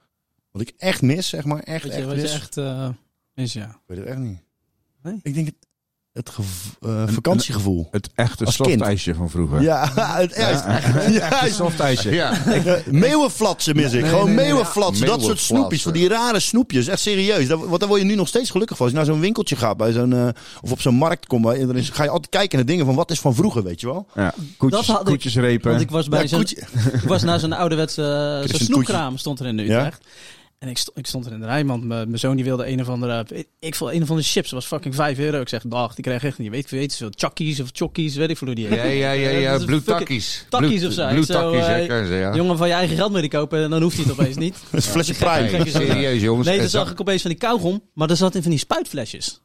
C: Wat ik echt mis, zeg maar. Echt,
B: Wat
C: echt
B: je, wat
C: mis.
B: je echt eh, mis, ja.
C: Ik weet het echt niet.
B: Nee?
C: Ik denk het, het gev- eh, vakantiegevoel.
A: Het echte
C: Als kind.
A: softijsje van vroeger.
C: Ja, het echt. Ja,
A: Het softijsje.
F: Ja.
C: eh, meeuwenflatsen mis ik.
F: Nee,
C: Gewoon
F: nee, nee,
C: meeuwenflatsen.
F: ja.
C: Dat soort snoepjes. Van die rare snoepjes. Echt serieus. Dat, want daar word je nu nog steeds gelukkig van. Als je naar zo'n winkeltje gaat. Bij zo'n, eh, of op zo'n markt komt. eh, Dan is- ga je altijd kijken naar dingen van wat is van vroeger. Weet je wel.
A: Ja, Koetjes,
B: Dat had ik-
A: koetjesrepen.
B: Want ik was, bij
C: Ja,
B: zo'n,
C: koetje-
B: ik was naar zo'n ouderwetse eh,
C: Chris
B: zo'n
C: een
B: snoepkraam, stond er in Utrecht. En ik, sto- ik stond er in de rij, want mijn mijn zoon die wilde een of andere... Ik, ik vond een van de chips, was fucking 5 euro. Ik zeg, dag, die krijg je echt niet. Weet, weet je veel, Chuckies of Chockies, weet ik veel hoe die heet.
F: Ja, ja, ja,
B: Dat
F: ja,
B: is
F: blue
B: fucking-
F: takkies.
B: takkies
F: Blue-
B: of zo,
F: Blue
B: zo,
F: takkies, hè,
B: eh,
F: kan ze, ja.
B: Jongen van je eigen geld mee kopen en dan hoeft hij het opeens niet.
C: Dat is een flesje
B: Gekke-
C: prime.
F: Nee,
B: gekke zo-
F: serieus, jongens.
B: Nee,
F: En
B: toen
F: zo-
B: zag ik opeens van die kauwgom, maar er zat in van die spuitflesjes.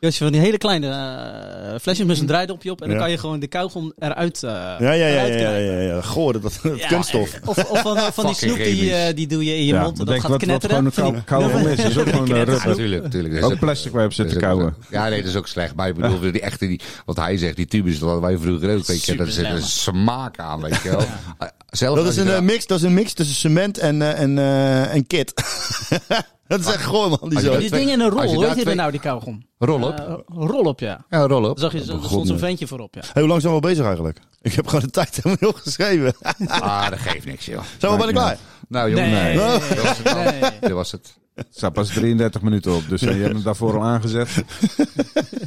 B: Dus van die hele kleine eh, flesjes met zo'n draaidopje op en dan
C: Ja.
B: kan je gewoon de kauwgom eruit eh
C: Ja, ja, ja,
B: eruit
C: ja,
B: knijpen.
C: ja, ja. Goor, dat, dat
B: Ja,
C: kunststof.
B: eh, Of, of van, eh, van die
F: Fucking
B: snoep die,
F: chemisch.
B: eh, die doe je in je
A: Ja,
B: mond en
A: maar
B: dat
A: denk
B: gaat
A: wat, wat
B: knetteren.
A: gewoon een kou, kou is. is ook gewoon een
F: Ja,
A: rubber.
F: tuurlijk, tuurlijk. Dat is
A: Ook plastic waar je op zit te
F: dat is ook-
A: kauwen.
F: Ja, nee, dat is ook slecht. Maar ik bedoel, die echte, die, wat hij zegt, die tubus, dat hadden wij vroeger ook. Weet je, dat zit een
B: Superslecht.
F: smaak aan, weet je wel. Eh, Zelf
C: Dat
F: als
C: is
F: je
C: een eh,
F: eraan-
C: mix, dat is een mix tussen cement en, eh, en, eh, en kit. dat is echt goor, man. Die
F: Als je
C: zo.
F: dat-
B: Die dingen in een
F: Als
B: rol,
F: je
B: hoe
F: daar
B: heet die
F: twee-
B: nou die kauwgom?
F: Rol op.
B: Eh, rol op, ja.
F: Ja, rol
B: Dan
F: op.
B: zag je, er stond zo'n ventje voorop, ja.
C: Hey, hoe lang zijn we al bezig eigenlijk? Ik heb gewoon de tijd helemaal niet geschreven.
F: Ah, dat geeft niks, joh.
C: Zijn we bijna klaar?
F: Nou, jongen,
B: Nee.
F: nee. Dat was het. al.
B: Nee.
F: Dat was het.
A: Het staat pas 33 minuten op, dus eh, je hebt hem daarvoor al aangezet.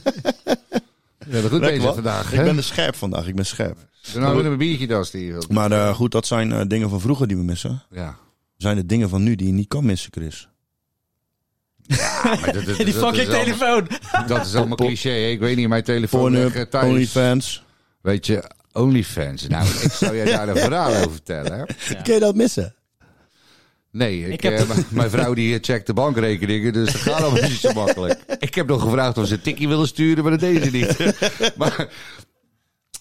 F: We hebben
C: Lekker,
F: goed bezig
C: man.
F: vandaag.
C: Ik
F: hè?
C: ben er scherp vandaag, ik ben scherp.
F: Doe nou weer een biertje, dat is die.
C: Maar eh, goed, dat zijn eh, dingen van vroeger die we missen.
F: Ja.
C: Zijn de dingen van nu die je niet kan missen, Chris?
F: Maar dat- dat-
B: Die
F: dat
B: fucking
F: is allemaal-
B: telefoon.
F: Dat is allemaal cliché. hè? Ik weet niet, mijn telefoon
C: Pornhub,
F: ligt thuis.
C: OnlyFans.
F: Weet je, OnlyFans. Nou, ik zou jij daar een verhaal over vertellen. hè?
B: Ja.
C: Kun je dat missen?
F: Nee, ik,
B: Ik heb
F: eh, m- mijn vrouw die checkt de bankrekeningen, dus dat gaat allemaal niet zo makkelijk. Ik heb nog gevraagd of ze een tikkie willen sturen, maar dat deed ze niet. maar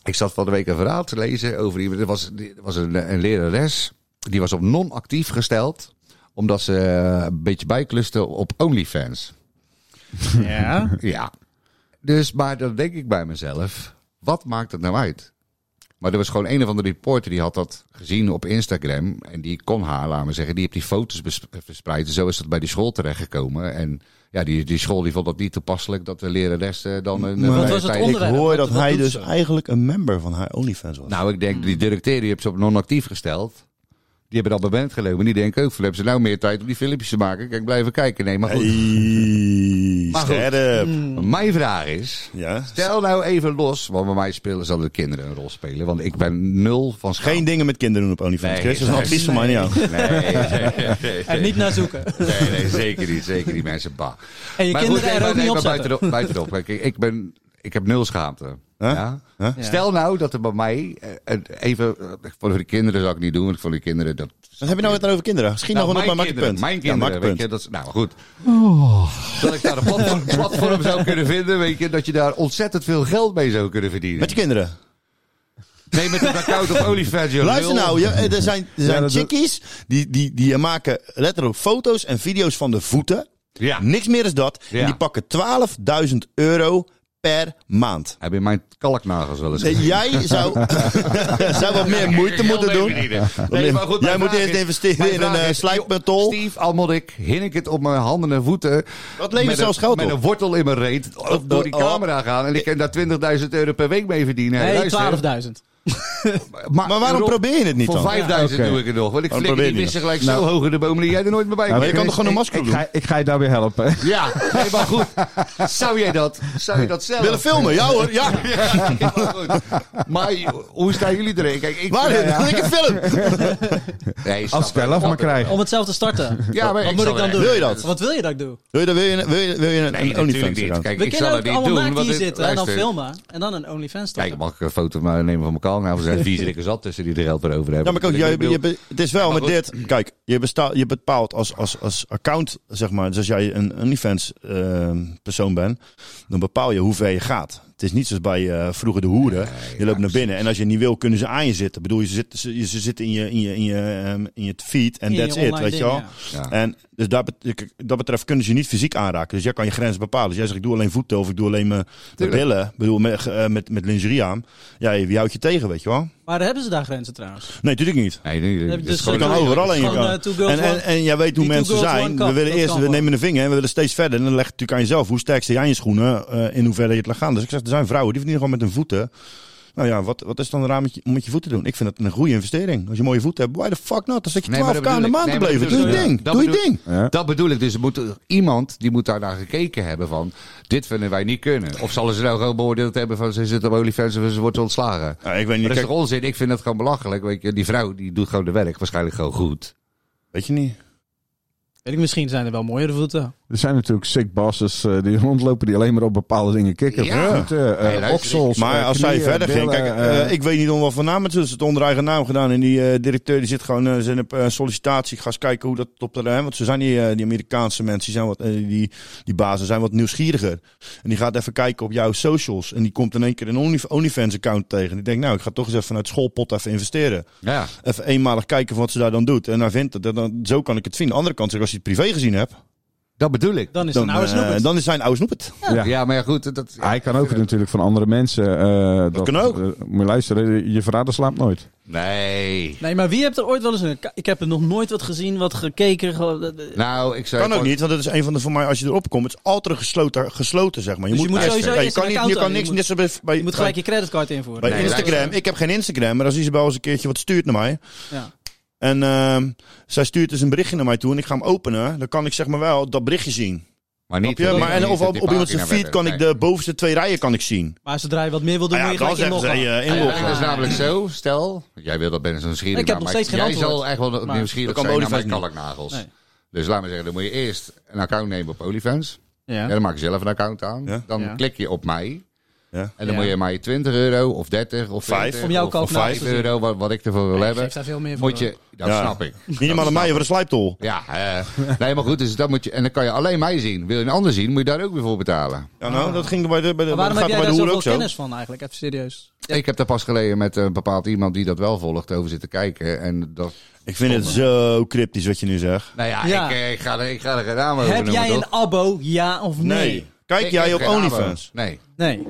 F: ik zat van de week een verhaal te lezen over iemand. Er was, die- er was een, een lerares, die was op non-actief gesteld, omdat ze eh, een beetje bijkluste op OnlyFans.
B: Ja.
F: Ja. Dus, maar dan denk ik bij mezelf, wat maakt het nou uit? Maar er was gewoon een of andere reporter die had dat gezien op Instagram. En die kon haar, laten we zeggen, die heeft die foto's bes- verspreid. En zo is dat bij die school terechtgekomen. En ja, die, die school die vond dat niet toepasselijk dat de lerares eh, dan een...
C: Wat
B: was
F: een
B: het
F: tijd-
C: Ik
B: onder- Onderwerp,
C: hoor
B: wat-
C: dat
B: wat
C: hij
B: doet
C: dus
B: ze?
C: eigenlijk een member van haar OnlyFans was.
F: Nou, ik denk, die directeur die heeft ze op non-actief gesteld. Die hebben dat abonnement gelopen. Die denken ook, van, hebben ze nou meer tijd om die filmpjes te maken? Kijk, blijven kijken. Nee, maar goed.
C: Hey,
F: Maar goed.
C: scherp.
F: Mijn vraag is...
C: Ja.
F: Stel nou even los, want bij mij spelen zullen de kinderen een rol spelen. Want ik ben nul van schaamte.
C: Geen dingen met kinderen doen op OnlyFans,
F: Nou. Nee,
C: Chris. Dat is een
F: nee.
C: advies van mij aan jou.
F: Nou. Nee, nee, nee, nee,
B: En niet naar zoeken.
F: nee, nee, zeker niet. Zeker niet, mensen. Bah.
B: En je
F: Maar
B: kinderen
F: nee,
B: er ook
F: nee,
B: niet
F: maar
B: op zetten.
F: buitenop, buitenop. Kijk, ik, ben, ik heb nul schaamte.
C: Huh?
F: Ja?
B: Ja.
F: Stel nou dat er bij mij, eh, een- even, eh, voor de kinderen zou ik niet doen, want voor de kinderen dat...
C: Wat heb je nou het over kinderen? Misschien nog wel op, maar maak je
F: kinderen,
C: punt.
F: mijn
C: Ja, maak
F: kinderen,
C: je
F: weet
C: punt.
F: je, dat is, nou goed.
B: Oh.
F: Dat ik daar een platform, platform zou kunnen vinden, weet je, dat je daar ontzettend veel geld mee zou kunnen verdienen.
C: Met je kinderen.
F: Nee, met een account op OnlyFans, joh.
C: Luister
F: Lul.
C: nou, ja, er zijn, er
A: Ja,
C: zijn
A: dat-
C: chickies die, die, die maken letterlijk foto's en video's van de voeten.
F: Ja.
C: Niks meer is dat.
F: Ja.
C: En die pakken 12.000 euro per maand.
F: Heb je mijn kalknagels wel eens
C: Nee, jij zou, zou wat meer moeite moeten doen.
F: Nee, maar goed,
C: Jij
F: mijn
C: moet
F: vraag
C: eerst
F: is-
C: investeren
F: mijn
C: in
F: vraag
C: een, eh,
F: is,
C: slijpmentol.
F: joh, Steve, al moet ik, hinnik het op mijn handen en voeten.
C: Dat levert
F: met
C: zelfs
F: een,
C: geld
F: Met
C: op.
F: een wortel in mijn reet of door die
C: Oh.
F: camera gaan. En ik kan daar 20.000 euro per week mee verdienen.
B: Nee,
F: Luister,
B: 12.000.
C: Maar waarom probeer je het niet
F: Voor
C: dan?
F: 5000
A: Ja, oké.
F: doe ik het nog. Want ik
C: Waarom
F: flikker die
C: probeer je Nou.
F: missen gelijk zo hoog in de bomen die jij er nooit meer bij
A: Nou,
F: bent.
C: je kan
A: Chris,
C: toch gewoon een
A: ik-
C: masker
A: ik,
C: doen?
A: Ga, ik ga je daar weer helpen.
F: Ja, nee, maar goed. Zou jij dat? Zou je dat zelf?
C: Willen filmen? Ja hoor, ja.
F: Ja, nee, maar goed. Maar hoe staan jullie erin? Kijk, ik
C: Waarin?
F: Ja, ja.
C: Lekker film.
F: Nee, snap
A: Als ik het wel af mag krijgen.
B: Om het zelf te starten.
F: Ja, maar
B: Wat moet ik dan doen?
C: Wil je dat?
B: Wat wil je dat ik doe?
C: Wil je, dat- wil je, wil je, wil je een
F: Nee,
C: OnlyFans
F: natuurlijk niet.
C: account?
F: Kijk,
B: We
F: ik
B: kennen
F: zal
B: ook
F: het niet
B: allemaal
F: doen.
B: naakt
F: want
B: hier
F: dit-
B: zitten en dan
F: luister.
B: filmen. En dan een OnlyFans starten.
F: Kijk, mag ik een foto maar nemen van mijn kanaal? Nou, we zijn vier ik er zat tussen die er geld voor over
C: Ja,
F: hebben.
C: maar kijk, jij,
F: Ik bedoel,
C: je, be- het is wel
F: Ja, maar
C: met dit. Kijk, je, besta- je bepaalt als, als, als account, zeg maar. Dus als jij een OnlyFans eh, persoon bent, dan bepaal je hoe ver je gaat. Het is niet zoals bij eh, vroeger de hoeren. je loopt naar binnen en als je niet wil, kunnen ze aan je zitten. Ik bedoel, ze zitten, ze, ze zitten in je, in je, in je, ehm, in je feed en
B: In je
C: that's it,
B: online
C: weet je
B: ding,
C: wel.
B: ja.
F: Ja.
C: En dus dat, bet- kijk, dat betreft kunnen ze je niet fysiek aanraken. Dus jij kan je grens bepalen. Dus jij zegt, ik doe alleen voeten of ik doe alleen mijn mijn
F: Tuurlijk.
C: billen. Ik bedoel, met, eh, met, met lingerie aan. Ja, wie houdt je tegen, weet je wel?
B: Maar hebben ze daar grenzen trouwens?
C: Nee, natuurlijk niet.
F: Nee, nee,
B: heb
F: nee,
B: je
F: dit
B: dus
F: is gewoon-
C: Je kan
B: Sorry,
C: overal in je
B: gewoon, eh,
C: kan.
B: two girls,
C: en, en,
B: one-
C: en jij weet hoe
B: die two
C: mensen
B: girls,
C: zijn.
B: one cup,
C: We willen
B: dat
C: eerst,
B: kan
C: we
B: wel.
C: nemen een vinger en we willen steeds verder. En dan legt het natuurlijk aan jezelf. Hoe sterk sta jij in je schoenen? eh, in hoeverre je het laat gaan. Dus ik zeg, er zijn vrouwen die verdienen gewoon met hun voeten. Nou ja, wat, wat is dan raar met je, om met je voeten te doen? Ik vind dat een goede investering. Als je mooie voeten hebt, why the fuck not? Dan zit je
F: Nee, maar
C: 12k
F: dat
C: in de
F: bedoel ik.
C: maand te
F: Nee, maar
C: blijven.
F: dat
C: Doe je
F: bedoel ik.
C: ding.
F: Dat
C: Doe je
F: bedoel ik.
C: ding.
A: Ja.
F: Dat bedoel ik. Dus er moet iemand die moet daar naar gekeken hebben van dit vinden wij niet kunnen. Of zullen ze nou gewoon beoordeeld hebben van ze zit op OnlyFans of ze wordt ontslagen.
C: Ja, ik weet niet.
F: Maar dat is
C: Kijk,
F: toch onzin? Ik vind dat gewoon belachelijk. Weet je, die vrouw die doet gewoon de werk waarschijnlijk gewoon goed.
C: weet je niet.
B: Weet ik, misschien zijn er wel mooiere voeten.
A: Er zijn natuurlijk sick bosses eh, die rondlopen die alleen maar op bepaalde dingen kicken.
F: Ja.
A: Voeten, eh,
F: Nee, luister,
A: oksels,
C: Maar
A: eh,
C: als zij
A: knieën,
C: verder ging,
A: billen,
C: kijk,
A: eh,
C: eh, ik weet niet om wat voor naam het is. Ze hebben het onder eigen naam gedaan. En die eh, directeur die zit gewoon eh, zijn eh, sollicitatie. Ik Ga eens kijken hoe dat op de. hè, want ze zijn die, eh, die Amerikaanse mensen, die, zijn wat, eh, die, die bazen zijn wat nieuwsgieriger. En die gaat even kijken op jouw socials. En die komt in één keer een Only- OnlyFans-account tegen. Die denkt, nou, ik ga toch eens even vanuit schoolpot even investeren.
F: Ja.
C: Even eenmalig kijken wat ze daar dan doet. En hij vindt het. En dan, zo kan ik het vinden. Aan de andere kant, zeg, als je het privé gezien hebt,
F: Dat bedoel ik.
B: Dan is het
C: dan,
B: een oude
C: eh,
B: snoepert.
C: dan is hij een oude snoepert.
A: Ja.
F: Ja, maar ja, goed. Dat,
A: hij kan ook natuurlijk van andere mensen. eh, dat,
C: kan ook.
A: eh, moet je luisteren, je vader slaapt nooit.
F: Nee.
B: Nee, maar wie hebt er ooit wel eens een... ka- Ik heb er nog nooit wat gezien, wat gekeken. ge- eh, eh,
F: Nou, ik zei...
C: Kan ook niet, want dat is een van de voor mij, als je erop komt, het is altijd een gesloten, gesloten zeg maar.
B: Dus je moet
C: Ja,
B: sowieso
C: je
B: eerst
C: kan,
B: een
C: niet, je
B: account
C: kan
B: hebben.
C: niks,
B: Je
C: net zo bij, bij,
B: Je moet gelijk je creditcard invoeren.
C: bij
F: Nee,
C: Instagram.
F: luister.
C: Ik heb geen Instagram, maar als Isabel eens een keertje wat stuurt naar mij.
B: Ja.
C: En ehm, zij stuurt dus een berichtje naar mij toe en ik ga hem openen. Dan kan ik zeg maar wel dat berichtje zien.
F: Maar niet...
B: eh,
C: Snap je?
F: niet-
C: Maar, en
F: niet
C: of
F: dat
C: op,
F: die
C: op iemand
F: pagina
C: zijn feed
F: werd-
C: kan ik
F: nee.
C: de bovenste twee rijen kan ik zien.
B: Maar zodra je wat meer wil doen,
F: Ah
C: Nou
B: moet
C: ja,
B: je
C: dan
B: gelijk
C: zeggen ze
B: inloggen.
C: hey, eh,
F: Ja,
C: inloggen.
F: dat is namelijk zo, stel, jij wil dat bent zo'n nieuwsgierig.
B: Ik heb
F: naar,
B: nog
F: maar
B: steeds geen
F: Jij zal
B: antwoord.
F: echt wel
B: Maar-
F: nieuwsgierig
C: Dat kan
F: zijn naar
C: bij
F: mijn
C: OnlyFans
F: kalknagels.
B: Nee.
F: Dus laat me zeggen, dan moet je eerst een account nemen op OnlyFans.
B: Ja.
F: eh, Ja. dan maak je zelf een account aan.
C: Ja.
F: Dan
B: Ja.
F: klik je op mij.
C: Ja.
F: En dan
B: Ja.
F: moet je mij 20 euro of 30 of
C: Vijf.
F: 40
B: Om jouw
F: of- of
B: kalknagels
F: 5
B: te zien.
F: euro, wat, wat ik ervoor wil
B: Nee,
F: hebben.
B: geeft daar veel meer voor.
F: Moet je, dat
C: Ja.
F: snap ik.
C: Niet helemaal aan mij over een slijptol.
F: Ja, eh, nee, maar goed, dus dat moet je, en dan kan je alleen mij zien. Wil je een ander zien, moet je daar ook weer voor betalen.
C: Ja, nou, dat ging er bij de, bij de,
B: Maar waarom
C: dat gaat er
B: heb jij
C: bij de
B: daar
C: hoer
B: zoveel
C: ook zo.
B: kennis van eigenlijk? Even serieus.
F: Ik heb daar pas geleden met een bepaald iemand die dat wel volgt over zitten kijken. En dat,
C: Ik vind het zo cryptisch wat je nu zegt.
F: nou ja,
B: Ja.
F: Ik, eh, ik, ga, er- ik ga er geen naam over
B: Heb
F: noemen,
B: jij
F: toch?
B: een abo, ja of nee?
C: Kijk
F: Ik
C: jij
F: heb
C: op
F: geen abo.
C: OnlyFans?
F: Nee.
B: Nee.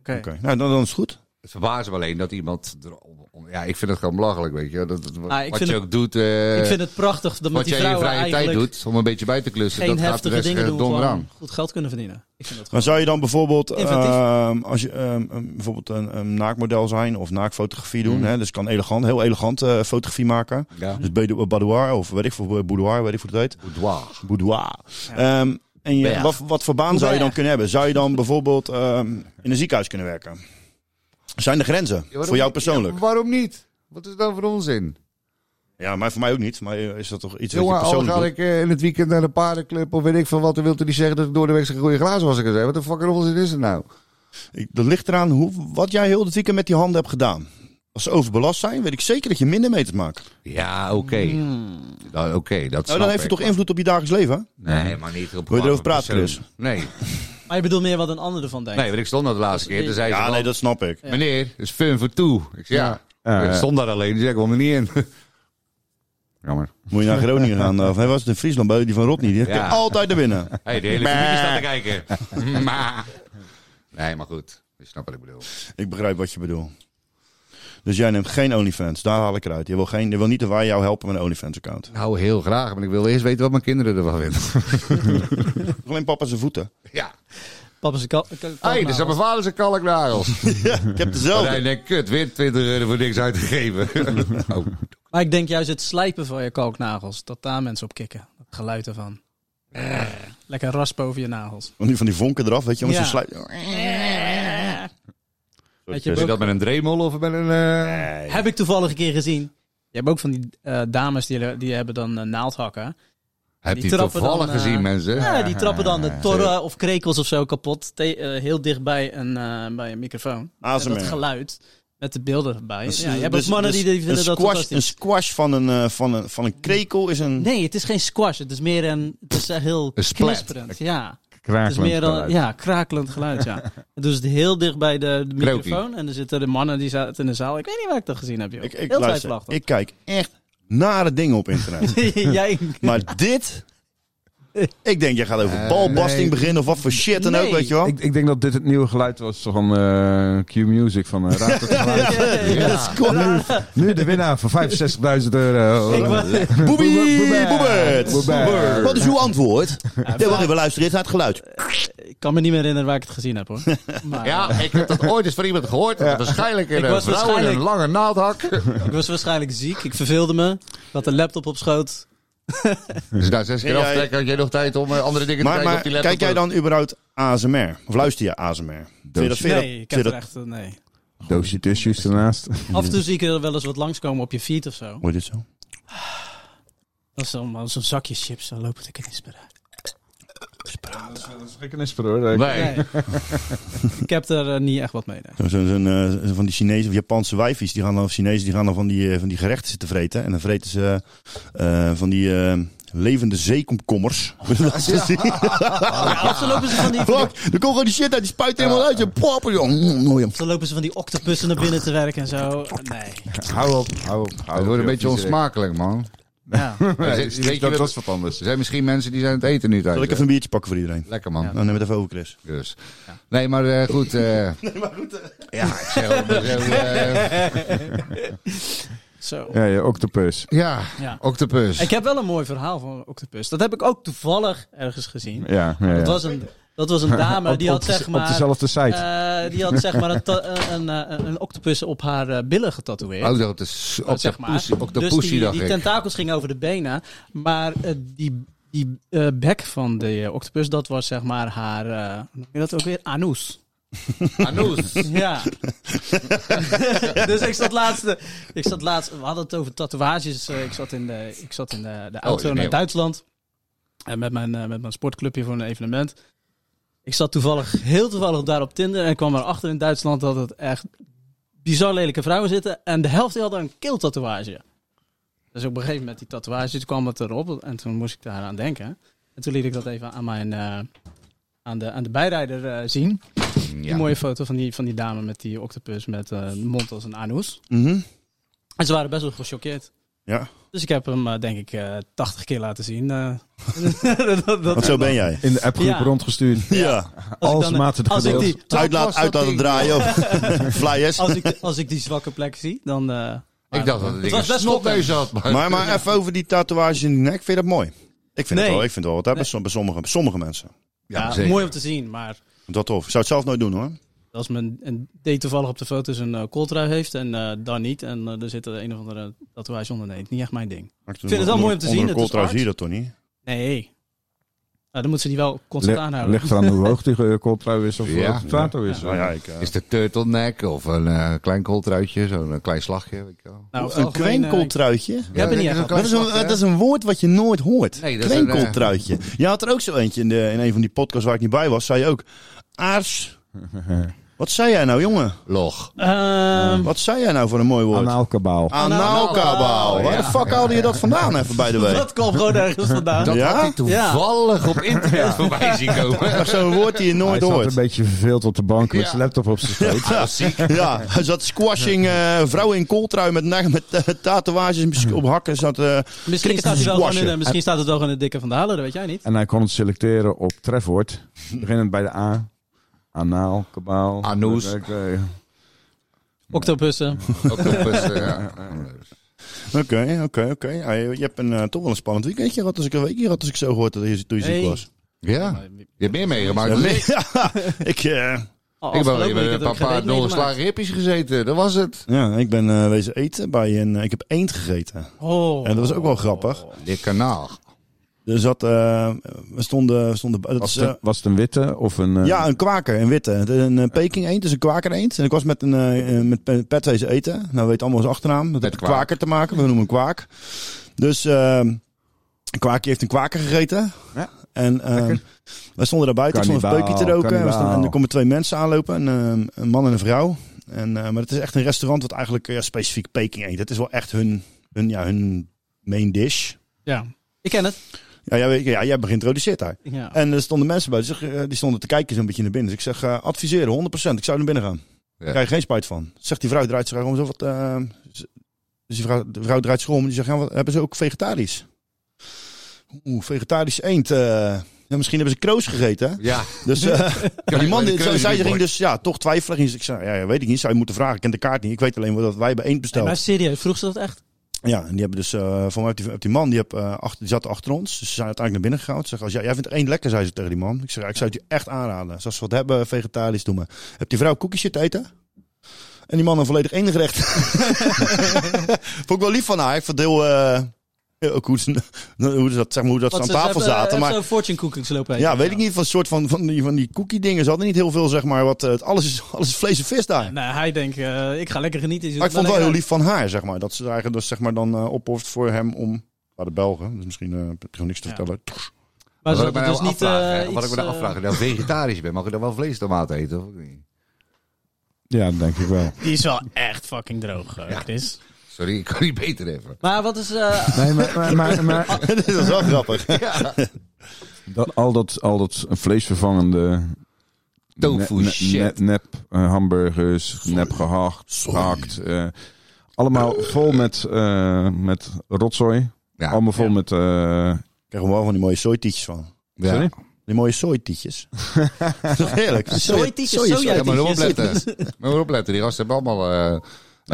B: Oké.
C: Oké, nou dan, dan is het goed.
F: Het verbaast me alleen dat iemand... er om- om- Ja, ik vind het gewoon belachelijk, weet je. Dat, dat- wat
B: Ah, ik
F: wat
B: vind
F: je
B: het-
F: ook doet... eh,
B: Ik vind het prachtig dat met
F: wat
B: die
F: jij in je
B: vrouwen
F: vrije tijd
B: eigenlijk
F: doet, om een beetje bij te klussen,
B: geen
F: dat gaat de
B: heftige
F: rest eh,
B: dingen doen.
F: donder
B: Gewoon
F: aan.
B: goed geld kunnen verdienen. Ik vind dat
C: Maar
B: gewoon...
C: zou je dan bijvoorbeeld,
B: Inventief.
C: ehm, als je ehm, ehm, bijvoorbeeld een, een naakmodel zijn of naakfotografie doen, hè, dus kan elegant, heel elegant eh, fotografie maken.
F: Mm. Ja.
C: Dus bedo- boudoir of weet ik voor boudoir, weet ik voor het heet.
F: Boudoir.
C: Boudoir. Ehm, en je,
F: Berg.
C: wat, wat voor baan zou je dan
B: Berg.
C: kunnen hebben? Zou je dan bijvoorbeeld ehm, in een ziekenhuis kunnen werken? Zijn er grenzen
F: Ja, waarom
C: voor jou
F: niet?
C: persoonlijk?
F: Ja, waarom niet? Wat is dat voor onzin?
C: Ja, maar voor mij ook niet. Maar eh, is dat toch iets
F: Jongen,
C: wat je
F: al
C: persoonlijk
F: ga
C: doet?
F: ik eh, in het weekend naar de paardenclub of weet ik veel wat, dan wilt u niet zeggen dat ik door de week zijn goede glazen was. Ik zei, wat de fucking onzin is het nou?
C: Ik- Dat ligt eraan hoe, wat jij heel het weekend met die handen hebt gedaan. Als ze overbelast zijn, weet ik zeker dat je minder mee te maken.
F: Ja, oké. Nou, oké, dat
C: Nou,
F: snap
C: dan heeft het
F: ik.
C: toch invloed op je dagelijks leven? hè?
F: Nee, maar niet op
C: Wil je erover
F: een
C: praten,
F: persoon.
C: Chris?
F: Nee.
B: Maar je bedoelt meer wat een ander ervan denkt.
F: nee, want ik stond dat de laatste keer. Toen zei ze,
C: Ja,
F: van,
C: nee, dat snap ik.
F: meneer, dat is fun voor toe. Ik zei, ja.
A: Ja.
F: ik stond daar alleen, dus ik kwam er niet in. Jammer.
C: Moet je naar Groningen gaan? eh, Of hij was het in Friesland bij die van Rodney. Die
F: Ja.
C: kan altijd naar binnen.
F: Hé, hey, de hele familie staat te kijken. Maar. Nee, maar goed. Je snapt wat ik bedoel.
C: Ik begrijp wat je bedoelt. Dus jij neemt geen OnlyFans. Daar haal ik eruit. Je wil, geen, je wil niet dat wij jou helpen met een OnlyFans-account.
F: Nou, heel graag. Maar ik wil eerst weten wat mijn kinderen ervan vinden.
C: Alleen papa zijn voeten.
F: Ja.
B: Papa is een kal-
F: Hé,
C: nou
F: hey, Ah, dat zijn mijn vader zijn kalknagels.
C: Ik heb
F: En
C: dezelfde.
F: hij denkt, kut, weer 20 euro voor niks uitgegeven. oh.
B: Maar ik denk juist het slijpen van je kalknagels, dat daar mensen op kikken. Dat geluid ervan. Lekker raspen over je nagels.
C: Van die, van die vonken eraf, weet je. jongens,
B: Ja.
C: die slijt...
B: Weet je,
F: Is
B: ook-
F: dat met een dremel of met een... eh,
B: heb ik toevallig een keer gezien. Je hebt ook van die eh, dames die, die hebben dan eh, naaldhakken.
F: Heb
B: Die
F: je
B: trappen
F: toevallig
B: dan, eh,
F: gezien, mensen?
B: Ja, die trappen dan de torren of krekels of zo kapot. te- eh, heel dicht bij een, eh, bij een microfoon.
C: ASMR.
B: En dat geluid met de beelden erbij.
C: Dus-
B: ja, je hebt
C: dus-
B: ook mannen
C: dus
B: die, die vinden
C: een
B: dat
C: squash,
B: fantastisch.
C: Een squash van een, eh, van een, van een krekel is een...
B: Nee, het is geen squash. Het is meer een... Het is echt heel
F: Een splat.
B: knisperend. Ja. Het is
A: Krakelend
B: meer dan,
A: geluid.
B: ja, krakelend geluid, ja. Dus het heel dicht bij de, de
F: Krokie.
B: microfoon. En er zitten de mannen die zaten in de zaal. Ik weet niet waar ik dat gezien heb, joh.
C: Ik, ik,
B: heel
C: luister,
B: twijfelachtig.
C: ik kijk echt nare dingen op internet.
B: Jij...
C: maar dit... Ik denk, jij gaat over balbasting
A: nee.
C: beginnen of wat voor shit dan ook,
B: Eh, Nee.
C: weet je wel.
A: Ik, ik denk dat dit het nieuwe geluid was van eh, Q-Music. Van, eh, raad het geluid.
F: Ja.
A: Nu de winnaar van 65.000 euro. Eh,
B: Ik wa-
C: Boebie,
A: Boebie,
C: boebert.
A: boebert.
C: Boebert. Wat is uw antwoord? Ja, wacht even, luister eens naar het geluid.
B: Ik kan me niet meer herinneren waar ik het gezien heb, hoor. Maar
F: Ja, ik heb dat ooit eens van iemand gehoord. Dat Waarschijnlijk
B: Ik
F: een eh, vrouw
B: was
F: in
B: waarschijnlijk-
F: een lange naaldhak.
B: ik was waarschijnlijk ziek. Ik verveelde me. Ik had de laptop op schoot.
F: Dus na zes keer
C: En jij-
F: aftrekken had jij nog tijd om eh, andere dingen te
C: Maar,
F: kijken
C: maar
F: op die laptop.
C: kijk jij dan überhaupt ASMR? Of luister je ASMR? Vind je dat, vind je dat-
B: Nee, ik
C: vind
B: heb
C: je
B: er
C: dat...
B: echt... eh, Nee.
A: Doosje tusjes ernaast.
B: Af en toe zie ik er wel eens wat langskomen op je feed of zo.
C: Hoor je dit zo?
B: Dat is allemaal zo'n zakje chips, dan lopen te knisperen.
A: Dat is geen knisper hoor. Dat-
B: Nee. ik heb er eh, niet echt wat mee. nee.
C: Zo'n zo'n, eh, zo van die Chinese of Japanse wijfjes, die gaan dan, of Chinezen, die gaan dan van die, eh, van die gerechten zitten vreten. En dan vreten ze eh, eh, van die eh, levende zeekomkommers. Heb je dat gezien?
B: Ja, of dan lopen ze van die,
C: Vlak, er komt gewoon die shit uit, die spuit helemaal uit. Je pop, Mm,
B: of dan lopen ze van die octopussen naar binnen te werken en zo. Nee.
A: Hou op, hou op. Hou
F: Het
A: op,
F: wordt een
A: joh,
F: beetje
A: vieze rek.
F: onsmakelijk, man.
B: Ja.
F: Er
A: Nee,
F: zijn- weet je
A: dat
F: wat-
A: was wat anders.
F: Er zijn misschien mensen die zijn het eten nu
C: Zal ik
F: thuis.
C: even
F: hè?
C: een biertje pakken voor iedereen?
F: Lekker, man.
B: Ja.
C: Dan neem het even over, Chris.
F: Dus. Nee, maar eh, goed. nee, maar goed. eh. Ja, ik zeg wel, maar zo, eh,
B: Zo.
A: Ja, ja, octopus.
F: ja,
B: Ja.
F: octopus.
B: Ik heb wel een mooi verhaal van een octopus. Dat heb ik ook toevallig ergens gezien.
A: Ja, ja, ja.
B: Dat, was een, dat was een dame
A: Op-
B: die had
A: op de-
B: zeg
A: Op
B: maar...
A: dezelfde site.
B: eh, die had zeg maar een, ta- eh, een, eh, een octopus op haar eh, billen getatoeëerd.
F: Oh, dat is
B: Dat zeg maar.
F: octopus.
B: dus
F: Octopus,
B: die,
F: dacht
B: die
F: ik.
B: tentakels gingen over de benen. Maar eh, die, die eh, bek van de eh, octopus, dat was zeg maar haar... eh, hoe noem je dat ook weer? Anus.
F: Anus.
B: Ja. dus ik zat laatst, ik zat laatst, we hadden het over tatoeages. Eh, Ik zat in de, ik zat in de, de auto
F: nee,
B: naar
F: hoor.
B: Duitsland. En met mijn, eh, met mijn sportclubje voor een evenement. Ik zat toevallig, heel toevallig daar op Tinder. En ik kwam erachter in Duitsland dat het echt bizar lelijke vrouwen zitten. En de helft die hadden een keeltatoeage. Dus op een gegeven moment die tatoeage, toen kwam het erop. En toen moest ik daar aan denken. En toen liet ik dat even aan mijn... eh, aan de, aan de bijrijder eh, zien. Die
F: Ja.
B: mooie foto van die, van die dame met die octopus met eh, een mond als een anus.
C: Mhm.
B: En ze waren best wel gechoqueerd.
C: Ja,
B: Dus ik heb hem, eh, denk ik, eh 80 keer laten zien. eh. dat, dat-
C: want zo ben jij.
A: In de appgroep
B: Ja.
A: rondgestuurd.
C: Ja,
B: als ik
A: Als
B: dan-
A: matig
B: als ik
A: gedeeld.
B: die,
C: uit laat- uit laten draaien op flyers.
B: als, ik, als ik die zwakke plek zie, dan... eh, maar-
F: Ik dacht dat het
B: het
F: ding een
B: was best wel
F: snotneus had.
C: Maar, maar even over die tatoeages in die nek, vind je dat mooi? Ik vind
B: Nee.
C: het wel, ik vind het wel wat hè, bij som- bij sommige, bij sommige mensen. Ik
B: ja,
F: zeker.
B: mooi om te zien, maar
C: vind het wel tof. Ik zou het zelf nooit doen hoor.
B: als men een D toevallig op de foto's een eh, kooltrui heeft en eh, dan niet. En eh, er zit er een of andere tatoeage onder. Nee, het is niet echt mijn ding.
C: Maar
B: vind het wel mooi om te zien,
C: Onder
B: het
C: een
B: is
C: kooltrui
B: art.
C: zie je dat toch niet?
B: Nee. Nou, dan moeten ze die wel constant
A: Le-
B: aanhouden.
A: Ligt eraan hoe hoog die eh, kooltrui is of hoe
F: Ja.
A: hoog de tato is.
C: Nou ja, ik, eh,
F: Is de turtleneck of een eh, klein kooltruitje, zo'n eh, klein slagje. Weet je wel.
B: Nou, over het
C: een
B: algemeen, eh,
C: kweenkooltruitje?
B: ik heb er niet
F: Ja,
B: echt
F: dat
B: aan.
C: Dat is, een,
F: slagje, hè?
C: dat is een woord wat je nooit hoort.
F: Nee,
C: Nee,
F: dat is een, eh,
C: Je had er ook zo eentje in, de, in een van die podcasts waar ik niet bij was. Zei je ook, aars. Wat zei jij nou, jongen?
F: Log.
B: Ehm,
C: Wat zei jij nou voor een mooi woord?
A: Anaalkabaal.
C: Anaalkabaal. Waar de
F: Ja.
C: fuck haalde je dat vandaan even bij de week?
B: dat kwam gewoon ergens vandaan.
F: Dat
C: Ja?
F: had ik toevallig op internet voorbij zien komen.
C: Zo'n woord die je
A: Hij
C: nooit
A: zat een
C: hoort.
A: beetje verveeld op de bank met
F: Ja.
A: zijn laptop op zijn schoot.
C: Ja, ja, hij zat squashing, eh vrouw in kooltrui met, nag- met eh, tatoeages misschien op hakken. Zat, eh,
B: Misschien, staat, hij wel
C: squashen.
B: gewoon in, de- misschien staat het wel gewoon in de dikke van de halen, dat weet jij niet.
A: En hij kon het selecteren op trefwoord. Beginnend bij de A. Anaal, kabaal.
F: Anus.
A: Ik, eh,
B: Octopussen. Oh,
F: Octopus, eh, ja.
C: Oké, oké, oké. Ja, Je je hebt een, eh, toch wel een spannend weekendje gehad als ik een weekje had als ik zo gehoord dat je toen je
B: Hey.
C: ziek was.
F: Ja, je hebt meer meegemaakt.
C: Ja,
F: dan
C: nee,
F: ik.
C: ja, ik, eh,
F: Ik ben alleen met een paar, paar doorgeslagen hippies gezeten. Dat was het.
C: ja, ik ben eh, wezen eten bij een... eh, Ik heb eend gegeten.
B: Oh.
C: En dat was ook wel grappig.
F: Dit kanaal.
C: Er zat... eh, we stonden... we stonden dat
A: was,
C: is,
A: het,
C: eh,
A: was het een witte of een... eh,
C: ja, een kwaker, een witte. Het is Een eh, Peking eend, dus een kwaker eend. En ik was met een eh, eh, met pe- petwezen eten. Nou weet allemaal zijn achternaam. Dat heeft
F: kwaak.
C: kwaker te maken. We noemen hem kwaak. Dus ehm een kwaakje heeft een kwaker gegeten.
A: Ja.
C: En ehm wij stonden daar buiten. Ik stond een
A: Kannibaal,
C: peukje te roken. En, we stonden- en
A: kannibaal.
C: er komen twee mensen aanlopen. Een, ehm, een man en een vrouw. En, eh, maar het is echt een restaurant wat eigenlijk eh, ja, specifiek Peking eet. Dat is wel echt hun, hun, ja, hun main dish.
B: Ja. Ik ken het.
C: Ja, jij, weet- ja, jij hebt geïntroduceerd daar.
B: Ja.
C: En er stonden mensen bij. die zeg- eh, die stonden te kijken zo'n beetje naar binnen. Dus ik zeg, eh, adviseren, 100%. Ik zou naar binnen gaan.
F: Ja.
C: Daar krijg je geen spijt van. Zegt die vrouw, draait zich om. Zo, wat, eh, z- dus die vrouw, de vrouw draait zich om. Die zegt, ja, wat, hebben ze ook vegetarisch? Oeh, vegetarisch eend. eh. ja, misschien hebben ze kroos gegeten. hè?
F: Ja,
C: Dus eh, die man,
F: bij de
C: zij, zij
F: kroos
C: ging dus ja, toch twijfelen. Ging ze- Ik zei, ja, ja, weet ik niet. Zou je moeten vragen. Ik ken de kaart niet. Ik weet alleen wel dat wij bij eend
B: Nee,
C: besteld.
B: maar serieus, vroeg ze dat echt?
C: Ja, en die hebben dus, eh voor mij, heeft die, heeft die man die, heb, eh, achter, die zat achter ons. Dus ze zijn uiteindelijk naar binnen gegaan. Ze zeggen, als jij, jij vindt één lekker, zei ze tegen die man. Ik zeg, ja, ik zou het je echt aanraden. Dus als ze wat hebben, vegetarisch doen maar. Heb die vrouw koekjes zitten eten? En die man een volledig enig recht. Vond ik wel lief van haar. Ik vond het heel, eh, heel- ook hoe ze, hoe ze dat, zeg maar, hoe dat ze eh, aan tafel zaten. Maar
B: Zo fortune cookies lopen
C: ja, weet ik niet, van soort van, van die, van die cookie dingen. Ze hadden niet heel veel, zeg maar, wat, eh, alles, is, alles is vlees en vis daar.
B: Nou, hij denkt, eh, ik ga lekker genieten.
C: Maar ik vond het wel heel lief van haar, zeg maar. Dat ze daar eigenlijk dus, zeg maar, dan eh opoffert voor hem om waren Belgen, dus misschien eh, heb ik gewoon niks te
B: Ja.
C: vertellen.
B: Maar ze
F: wat ik
B: hadden
F: me
B: dus
F: nou
B: niet
F: afvraag,
B: eh,
F: hè, Wat ik
B: iets,
F: me nou
B: eh,
F: afvraag, als je nou vegetarisch bent, mag je dan wel vleestomaat eten? Of niet?
A: Ja, dat denk ik wel.
B: eh, Die is wel echt fucking droog, eh, Chris.
F: Sorry, ik kan niet beter even.
B: Maar wat is... eh,
A: Nee, maar, maar, maar, maar
C: Dit is wel grappig.
A: dat, al, dat, al dat vleesvervangende...
F: Tofu
A: ne- ne-
F: shit.
A: ne- nep eh, hamburgers, nep gehakt, gehakt. eh, allemaal vol met, eh, met rotzooi.
F: Ja.
A: allemaal vol met... eh,
C: Ik krijg gewoon van die mooie soortietjes van.
F: Ja.
A: Sorry?
C: Die mooie soortietjes. Toch heerlijk?
B: Soortietjes,
C: Soja-
B: soja-
F: Ja, maar
B: Uitjes.
F: opletten. maar opletten, die gasten hebben allemaal eh,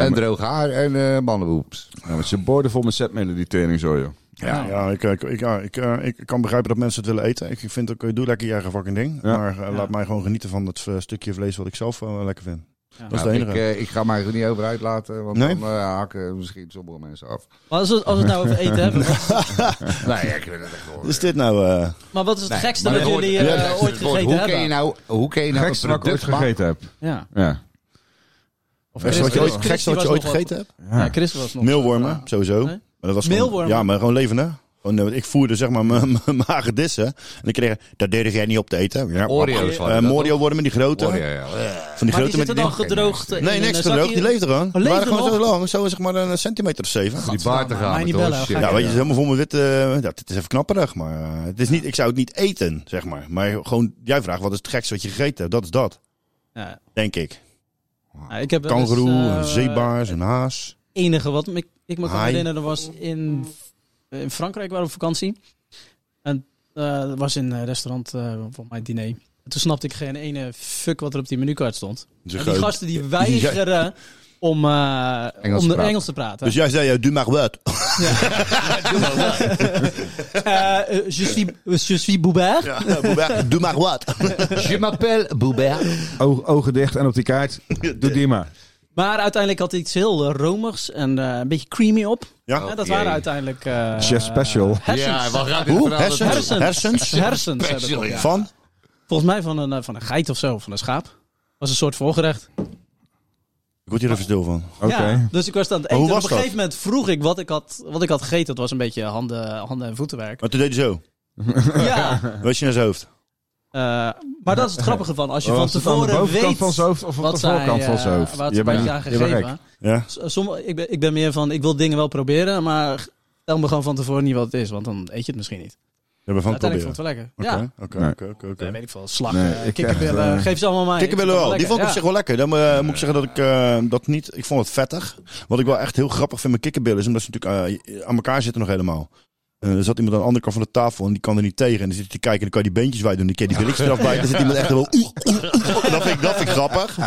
F: en droog haar en eh mannenboeps.
A: ja, met zijn borden vol met zetmelen, die tering zo, joh.
C: Ja, ja, ik, ik, ik, ja, ik, eh, ik kan begrijpen dat mensen het willen eten. Ik vind ook, eh, doe lekker je eigen fucking ding.
A: Ja.
C: Maar eh, laat mij gewoon genieten van het eh, stukje vlees wat ik zelf wel lekker vind.
B: Ja.
C: Dat is
F: Nou,
C: de
F: ik,
C: enige.
F: eh, ik ga mij er niet over uitlaten, want
C: Nee?
F: dan eh, haken misschien sommige mensen af.
B: Maar als we, als we het nou over eten hebben... wat-
F: nee, ik vind het echt wel.
C: Is dit nou... eh,
B: Maar wat is het
F: Nee,
B: gekste
F: maar
B: dat
F: dat hoort-
B: jullie
F: ja,
B: eh,
F: dat
B: ooit
F: is het woord.
B: gegeten
F: hoe
B: hebben?
F: Kun je nou, hoe kun je nou
A: Gekste
F: een
A: wat ik ooit
F: product maken?
A: gegeten heb.
B: Ja.
A: Ja.
B: Of
C: Gekste wat je
B: Chris-
C: ooit,
B: Chris,
C: gekste wat
B: die
C: je ooit
B: was nog-
C: gegeten hebt?
A: Ja.
B: Ja, Chris was nog...
C: Meelwormen, sowieso.
B: Nee?
C: Maar dat was gewoon-
B: Meelwormen?
C: Ja, maar gewoon leven, hè? Gewoon, eh, want ik voerde zeg maar mijn mijn magedissen. En ik kreeg, dat durf jij niet op te eten. Ja,
F: Oreo's waren
C: Eh,
F: dat,
C: Moreo-wormen, die grote.
F: Hoor je, ja.
C: Van die
B: Maar die
C: grote met
B: zitten dan
C: die...
B: gedroogd eh, in
C: Nee,
B: een
C: niks
B: zakje.
C: gedroogd. Die leefden gewoon. Die
B: Oh, leefden
C: waren gewoon zo
B: nog?
C: lang. Zo zeg maar een centimeter of zeven.
F: Die baard te
B: Gadverdamme, mij
F: gaan.
B: niet
F: met
B: bellen,
F: ons,
B: ga
F: shit.
C: Ja, weet je,
B: ja.
C: het is helemaal vol met witte... eh, dat, het is even knapperig, maar eh, het is niet, ik zou het niet eten, zeg maar. Maar gewoon, jij vraagt wat is het gekste wat je gegeten hebt. Dat is dat,
B: Ja.
C: denk ik.
B: Ja, ik heb wel eens,
C: Kangeroe,
B: eh,
C: een zeebaars, een haas.
B: enige wat ik, ik me kan
C: Hai.
B: herinneren was in, in Frankrijk, waren we op vakantie. En eh, dat was in een restaurant eh voor mijn diner. En toen snapte ik geen ene fuck wat er op die menukaart stond. En die gasten die weigeren om, eh,
F: Engels
B: om
F: te
B: de
F: praten.
B: Engels te praten.
C: Dus jij zei, eh, doe maar wat.
B: Eh, eh, je suis, je suis Boubert.
C: doe maar wat.
F: Je m'appelle Boubert.
A: Oog- ogen dicht en op die kaart, doe die maar.
B: Maar uiteindelijk had hij iets heel eh, romigs en eh, een beetje creamy op.
C: Ja.
B: Eh,
F: Oh,
B: dat
F: jee.
B: waren uiteindelijk... eh,
A: Chef special.
B: Hersens.
F: Ja, wat gaat dit
C: Hoe?
F: verhaal
C: Hersens?
F: naartoe?
C: Hersens?
B: Hersens. Hersens hebben we
F: Special,
B: toch, ja.
C: Van?
B: Volgens mij van een, eh, van een geit of zo, of van een schaap. Was een soort voorgerecht.
C: Ik word hier even stil van.
A: Oké.
B: Ja, dus ik was aan het eten.
C: hoe
B: en Op
C: was
B: een
C: dat?
B: gegeven moment vroeg ik wat ik had, wat ik had gegeten. Dat was een beetje handen, handen en voetenwerk.
C: Maar toen deed hij zo.
B: ja.
C: Was je naar zijn hoofd?
B: Eh, maar dat is het grappige van. Als je
A: Was
B: van
A: Oh, het aan de
B: tevoren
A: bovenkant
B: weet
A: van zijn hoofd of op
B: wat
A: de voorkant
B: zij,
A: van
B: eh,
A: zijn hoofd?
B: Wat
A: Je
B: je
A: bent-
B: aan
A: je bent
B: gegeven.
C: Ja.
B: S- Sommige, ik, ben, ik ben meer van, ik wil dingen wel proberen, maar tel me gewoon van tevoren niet wat het is. Want dan eet je het misschien niet.
C: We hebben van het
B: Uiteindelijk
C: proberen.
B: vond ik het wel lekker. Ja.
C: Oké, oké,
A: Nee.
C: oké, oké,
B: Eh,
C: oké.
B: weet ik veel, slag,
A: Nee,
B: eh,
A: ik
B: kikkerbillen,
A: echt, eh,
B: geef ze allemaal maar.
C: Kikkerbillen
B: Ik
C: wel. Die
B: lekker,
C: vond ik op
B: ja.
C: zich wel lekker. Dan eh, moet ik zeggen dat ik eh, dat niet... Ik vond het vettig. Wat ik wel echt heel grappig vind met kikkerbillen is omdat ze natuurlijk eh, aan elkaar zitten nog helemaal. Eh, er zat iemand aan de andere kant van de tafel en die kan er niet tegen. En dan zit hij te kijken en dan kan hij die beentjes wijd doen. Die keer die billetjes eraf bij. Dan zit iemand echt wel... oeh, oeh, oeh. Dat vind, ik, dat vind ik grappig.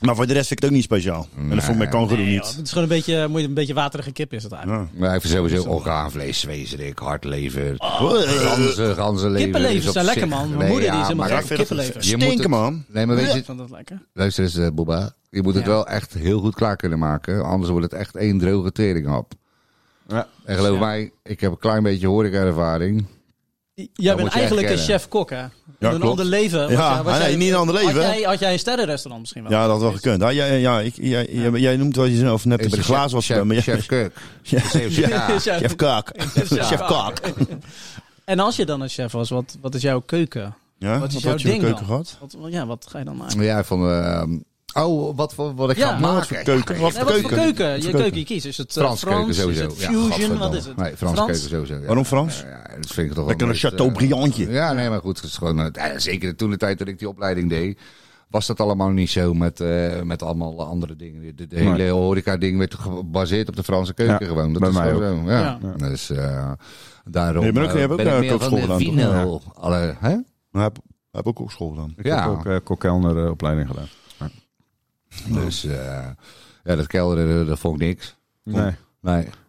C: Maar voor de rest vind ik het ook niet speciaal. En dat vond ik bij kangaroo
B: Nee, joh,
C: niet.
B: Het is gewoon een beetje, eh, moet je- een beetje waterige kip is het eigenlijk.
C: Ja.
F: Maar Nou, even sowieso orgaanvlees, wezenlijk, hartlever, ganzen, ganzenlever.
B: Oh. Kippenlevers
F: is op
B: zijn lekker,
F: zich-
B: man. Mijn moeder die is helemaal
F: maar-
C: ik
B: gek op
C: vind het-
B: kippenlever.
F: Je moet het-
C: Stinken man.
F: Nee, maar weet je,
B: Ik vond dat lekker.
F: luister eens, eh, Boba. Je moet het
B: Ja.
F: wel echt heel goed klaar kunnen maken. Anders wordt het echt één droge teringhap.
A: Ja.
F: En geloof
B: Ja.
F: mij, ik heb een klein beetje horeca-ervaring.
B: Jij
F: moet
B: bent
F: je
B: eigenlijk een
F: echt kennen.
B: chef-kok, hè?
C: Ja,
B: een
C: klopt.
B: ander leven. Wat
C: Ja,
B: jij- wat
C: ah, nee,
B: jij-
C: niet een ander leven.
B: Had jij, had jij een sterrenrestaurant misschien wel?
C: Ja, dat had wel gekund. Ja, ja, ja, ik, ja, ja, maar jij noemt wel jezelf net dat je glazen was.
F: Dus chef,
C: maar jij-
F: chef Kirk.
B: Ja.
F: Ja.
B: Chef-
C: Chef Kaak.
B: Chef
C: Chef Kaak.
B: En als je dan een chef was, wat, wat is jouw keuken?
C: Ja,
B: Wat is
C: wat
B: jouw
C: had je in
B: ding
C: de keuken
B: dan?
C: gehad?
B: Wat, ja, wat ga je dan maken?
F: Ja, van... ehm, oh, wat, voor wat ik
B: Ja,
F: ga
B: maar
F: maken.
C: Wat voor keuken? Wat
B: Nee,
C: voor
B: wat voor
C: keuken?
B: keuken? Je
C: voor
B: keuken
C: keuken?
B: je kiest. Is het eh,
F: Frans keuken
B: Is
F: sowieso.
B: het
F: Ja,
B: fusion? wat
F: gadverdamme.
B: is het?
F: Nee, Frans keuken sowieso. ja.
C: Waarom Frans?
F: Ja, dat vind ik toch wel
C: Lekker een
F: meest, eh,
C: Chateaubriandje.
F: Ja, nee, maar goed. Het is gewoon, eh, eh, zeker toen de tijd dat ik die opleiding deed, was dat allemaal niet zo met, eh, met allemaal andere dingen. De, de
A: Nee.
F: hele horeca-ding werd gebaseerd op de Franse keuken
A: Ja,
F: gewoon. Dat
A: bij
F: is
A: mij
F: gewoon zo. Ja.
B: Ja.
F: Dus eh, daarom
C: Nee, je bent ook- je hebt ook,
F: ben ik
C: eh,
F: meer van
C: kookschool
F: de
C: gedaan, toch?
F: vino. Alle, hè?
C: Maar hij heeft ook op school gedaan.
A: Ik
F: Ja.
A: heb ook uh, opleiding gedaan.
F: Dus eh, ja, dat kelder, dat vond ik niks.
A: Nee.
F: Nee.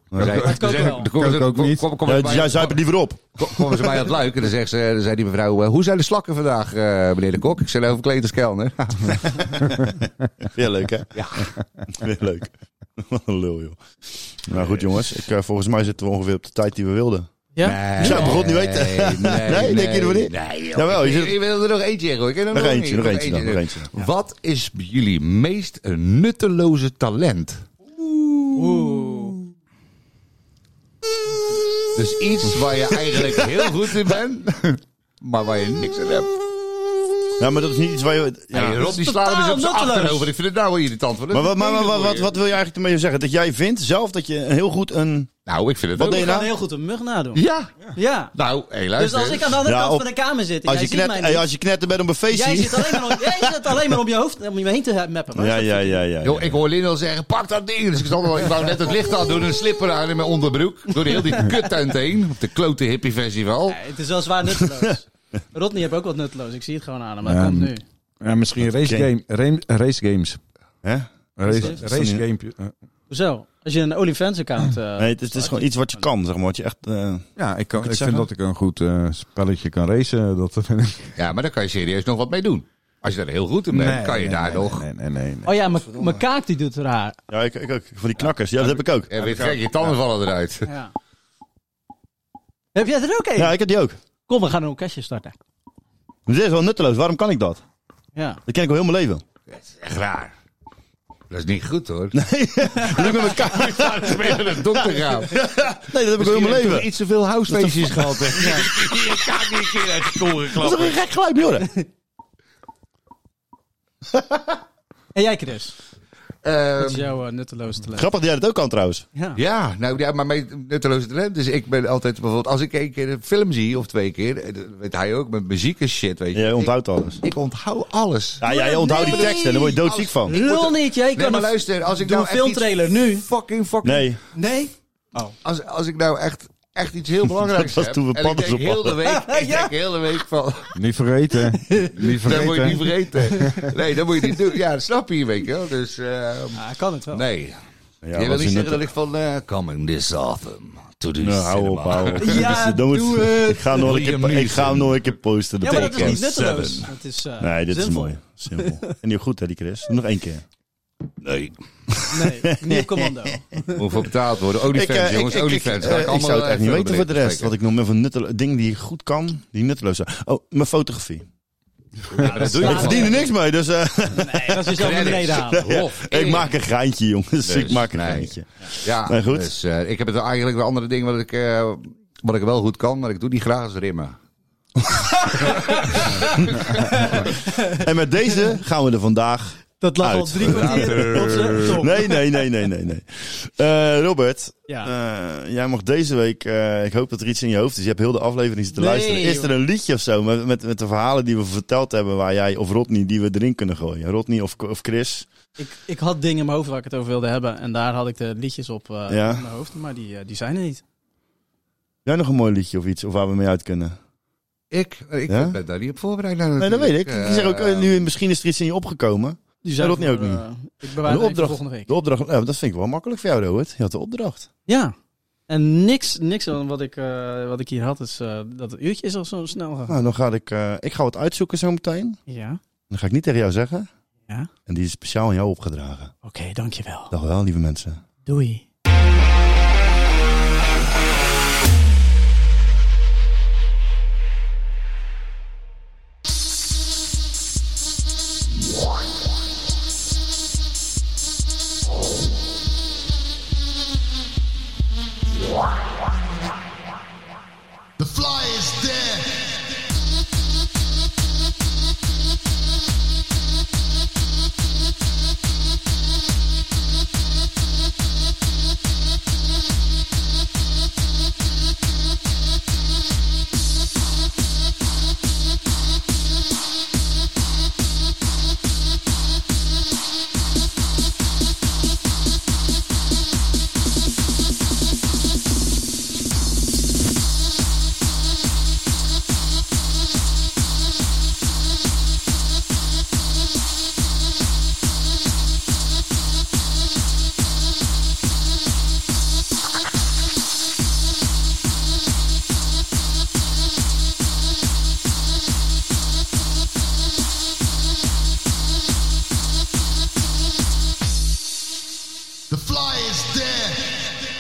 C: Nee.
F: Zei-
B: Dat kan
F: zei-
B: ook wel.
F: dan komen
A: Kan
F: ze-
A: ik ook
F: kom-
A: niet.
F: kom- kom-
C: Ja,
F: bij-
C: dus jij zuipt er liever op.
F: Ko- komen ze mij aan het luiken. Dan, zegt ze, dan zei die mevrouw, eh, hoe zijn de slakken vandaag, eh, meneer de kok? Ik zei, overkleed als kelner.
C: Weer leuk, hè? Ja. Weer leuk. Wat een lul, joh. Nou goed, jongens. Ik, eh, volgens mij zitten we ongeveer op de tijd die we wilden.
B: Ja?
F: Nee,
C: Ik zou het begot niet weten.
F: Nee,
C: Nee, denk je er wel niet?
F: Nee, joh.
C: Jawel, je
F: Ik-
C: zit-
F: ik wil er nog eentje in gooien. Ik wil er
C: Nog eentje, nog
F: in.
C: eentje dan. Nog eentje.
F: dus. Wat is jullie meest eh, nutteloze talent?
B: Oeh.
F: Dus iets waar je eigenlijk heel goed in bent, maar waar je niks aan hebt.
C: Ja, maar dat is niet iets waar je... Ja.
F: hey, Rob, die slaat hem eens op zijn
B: nutteloos.
F: achterover. Ik vind het nou wel irritant. want dat
C: Maar, wat,
F: is een
C: maar, maar
F: hele
C: wat, wat,
F: goeie.
C: wat wil je eigenlijk ermee zeggen? Dat jij vindt zelf dat je een heel goed een...
F: Nou, ik vind het
C: Wat
F: ook.
C: deed
B: Ik
C: je
B: kan
C: nou?
B: heel goed een mug nadoen.
F: Ja.
B: Ja.
F: Nou, hé,
B: Dus
F: luister.
B: als ik aan de andere
C: Ja,
B: kant
C: op-
B: van de kamer zit en
C: Als
B: jij
C: je,
B: ziet
C: knet,
B: mij
C: hey,
B: niet,
C: als je knetter bent op een
B: Jij
C: feestje...
B: zit alleen maar om, jij zit alleen maar om je hoofd om je heen te meppen. Maar
C: Ja,
B: dat-
C: ja, ja, ja.
F: Yo,
C: ja.
F: ik hoor Lin al zeggen, pak dat ding. Dus ik, stond al, ik wou net het licht aan doen, een slipper aan in mijn onderbroek. Door heel die kuttent heen. Op de klote hippie festival.
B: Nee, het is wel zwaar nutteloos. Rodney heb ook wat nutteloos. Ik zie het gewoon aan hem. Maar het
A: Ja,
B: komt
A: maar-
B: nu.
A: Ja, misschien race, game, race, race games.
C: Hè?
A: Race,
B: is-
A: race game. eh,
B: Zo, als je een OnlyFans-account... eh,
C: Nee, het is, het is gewoon iets wat je kan, zeg maar. Wat je echt... eh,
A: Ja, ik, kan,
C: ik
A: ik,
C: het
A: vind
C: zeggen?
A: dat ik een goed eh, spelletje kan racen. Dat vind ik.
F: Ja, maar daar kan je serieus nog wat mee doen. Als je daar heel goed in bent, kan je daar
A: nee,
F: nog...
A: Nee, nee, nee. nee.
B: Oh ja, mijn- mijn kaak die doet raar.
C: Ja, ik, ik ook. Voor die knakkers. Ja, dat heb ik ook.
F: Ja, weet je, gek, je tanden vallen eruit.
B: Ja. Heb jij er ook een?
C: Ja, ik heb die ook.
B: Kom, we gaan een orkestje starten.
C: Dit is wel nutteloos. Waarom kan ik dat?
B: Ja.
C: Dat ken ik al heel mijn leven.
F: Echt raar. Dat is niet goed hoor.
C: Dat doe ik met mijn kaart.
F: Dat is weer naar de dokter gaan.
C: Nee, dat heb ik al heel mijn leven.
F: iets te veel housefeestjes gehad. hè. Je kan niet een keer uit de koren
C: Dat is toch
F: klappen.
C: een gek geluid, joh.
B: En jij, Chris? Wat is
F: Ehm,
B: jouw eh, nutteloos talent?
C: Grappig dat jij dat ook kan, trouwens.
B: Ja.
F: Ja, nou ja, maar mijn nutteloze talent. Dus ik ben altijd bijvoorbeeld, als ik één keer een film zie of twee keer, eh, dat weet hij ook met muziek en shit, weet je.
C: Jij
F: Ik-
C: onthoudt alles.
F: Ik onthoud alles.
C: Ja, jij onthoudt die teksten en daar word je doodziek van.
B: Lul niet, jij
F: Nee,
B: kan
F: maar
B: een-
F: luister, als ik
B: doe
F: nou
B: een
F: echt iets-
B: filmtrailer nu.
F: Fucking fucking.
C: Nee.
B: Nee?
F: Als, als ik nou echt, echt iets heel belangrijks
C: was
F: heb.
C: toen we
F: en ik
C: padden
F: denk
C: zo
F: heel de week, ik
B: Ja.
F: denk heel de week van,
A: Niet vergeten. Niet
F: dat moet je niet
A: vergeten.
F: vergeten. Nee, dat moet je niet doen. Ja, dat snap je, weet je wel. Dus, eh,
B: Ja, kan het wel.
F: nee.
C: Ja,
F: je wil
C: wat
F: niet
C: is
F: zeggen
C: nuttel-
F: dat ik van, eh, coming this autumn to the
C: Nou, hou op,
F: cinema.
C: hou op.
B: Ja,
C: Dan moet-
B: doe het.
C: Ik ga hem nog een keer,
F: Liam
C: ik ga hem nog een keer posten. de
B: Ja, maar dat is niet
C: podcast.
B: nutteloos. Het is, eh,
C: Nee, dit is
B: zinvol.
C: mooi. Simpel. En heel goed, hè, die Chris? Nog één keer.
F: Nee.
B: Nee, niet op commando.
F: Moet voor betaald worden. Olifants,
C: eh,
F: jongens, olifants.
C: eh,
F: Ga
C: ik
F: allemaal
C: zou het echt
F: even
C: niet
F: een
C: weten voor de rest.
F: bericht
C: Wat ik nog meer van nutteloos... Dingen die ik goed kan, die nutteloos zijn. Oh, mijn fotografie.
F: Ja, dat doe je
C: Ik verdien er niks mee, dus... eh,
B: Nee, dat is dus jezelf naar beneden halen.
C: ik maak een geintje, jongens. ik maak een
F: nee.
C: geintje.
F: Ja,
C: Maar Nou, goed.
F: Dus, eh, ik heb het eigenlijk wel andere dingen wat ik, eh, wat ik wel goed kan, maar ik doe die graag als rimmen.
C: En met deze gaan we er vandaag...
B: Dat lag al
C: Uit.
B: drie kwartier op zijn top.
C: Nee, nee, nee, nee, nee, nee. Eh, Robert,
B: Ja.
C: eh, jij mag deze week... eh, ik hoop dat er iets in je hoofd is. Je hebt heel de aflevering zitten
B: Nee,
C: luisteren. Is er
B: joh.
C: een liedje of zo met, met, met de verhalen die we verteld hebben... waar jij of Rodney die we erin kunnen gooien? Rodney of, of Chris?
B: Ik, ik had dingen in mijn hoofd waar ik het over wilde hebben. En daar had ik de liedjes op eh,
C: Ja.
B: in mijn hoofd. Maar die, eh, die zijn er niet.
C: Jij nog een mooi liedje of iets? Of waar we mee uit kunnen?
F: Ik, ik
C: Ja?
F: ben daar niet op voorbereid.
C: Nee, dat weet ik. Ik zeg ook, eh,
F: eh,
C: nu, misschien is er iets in je opgekomen.
B: Die zijn
C: Rodney
B: voor,
C: ook niet.
B: eh, ik bewaar
C: De
B: het even
C: opdracht.
B: volgende week.
C: De opdracht, nou, dat vind ik wel makkelijk voor jou, Robert. Je had de opdracht.
B: Ja. En niks, niks van wat ik, eh, wat ik hier had is eh, dat het uurtje is al zo snel gegaan.
C: Nou, dan ga ik, eh, ik ga wat uitzoeken zo meteen.
B: Ja.
C: Dan ga ik niet tegen jou zeggen.
B: Ja.
C: En die is speciaal aan jou opgedragen.
B: Oké, dankjewel.
C: Dag wel, lieve mensen.
B: Doei.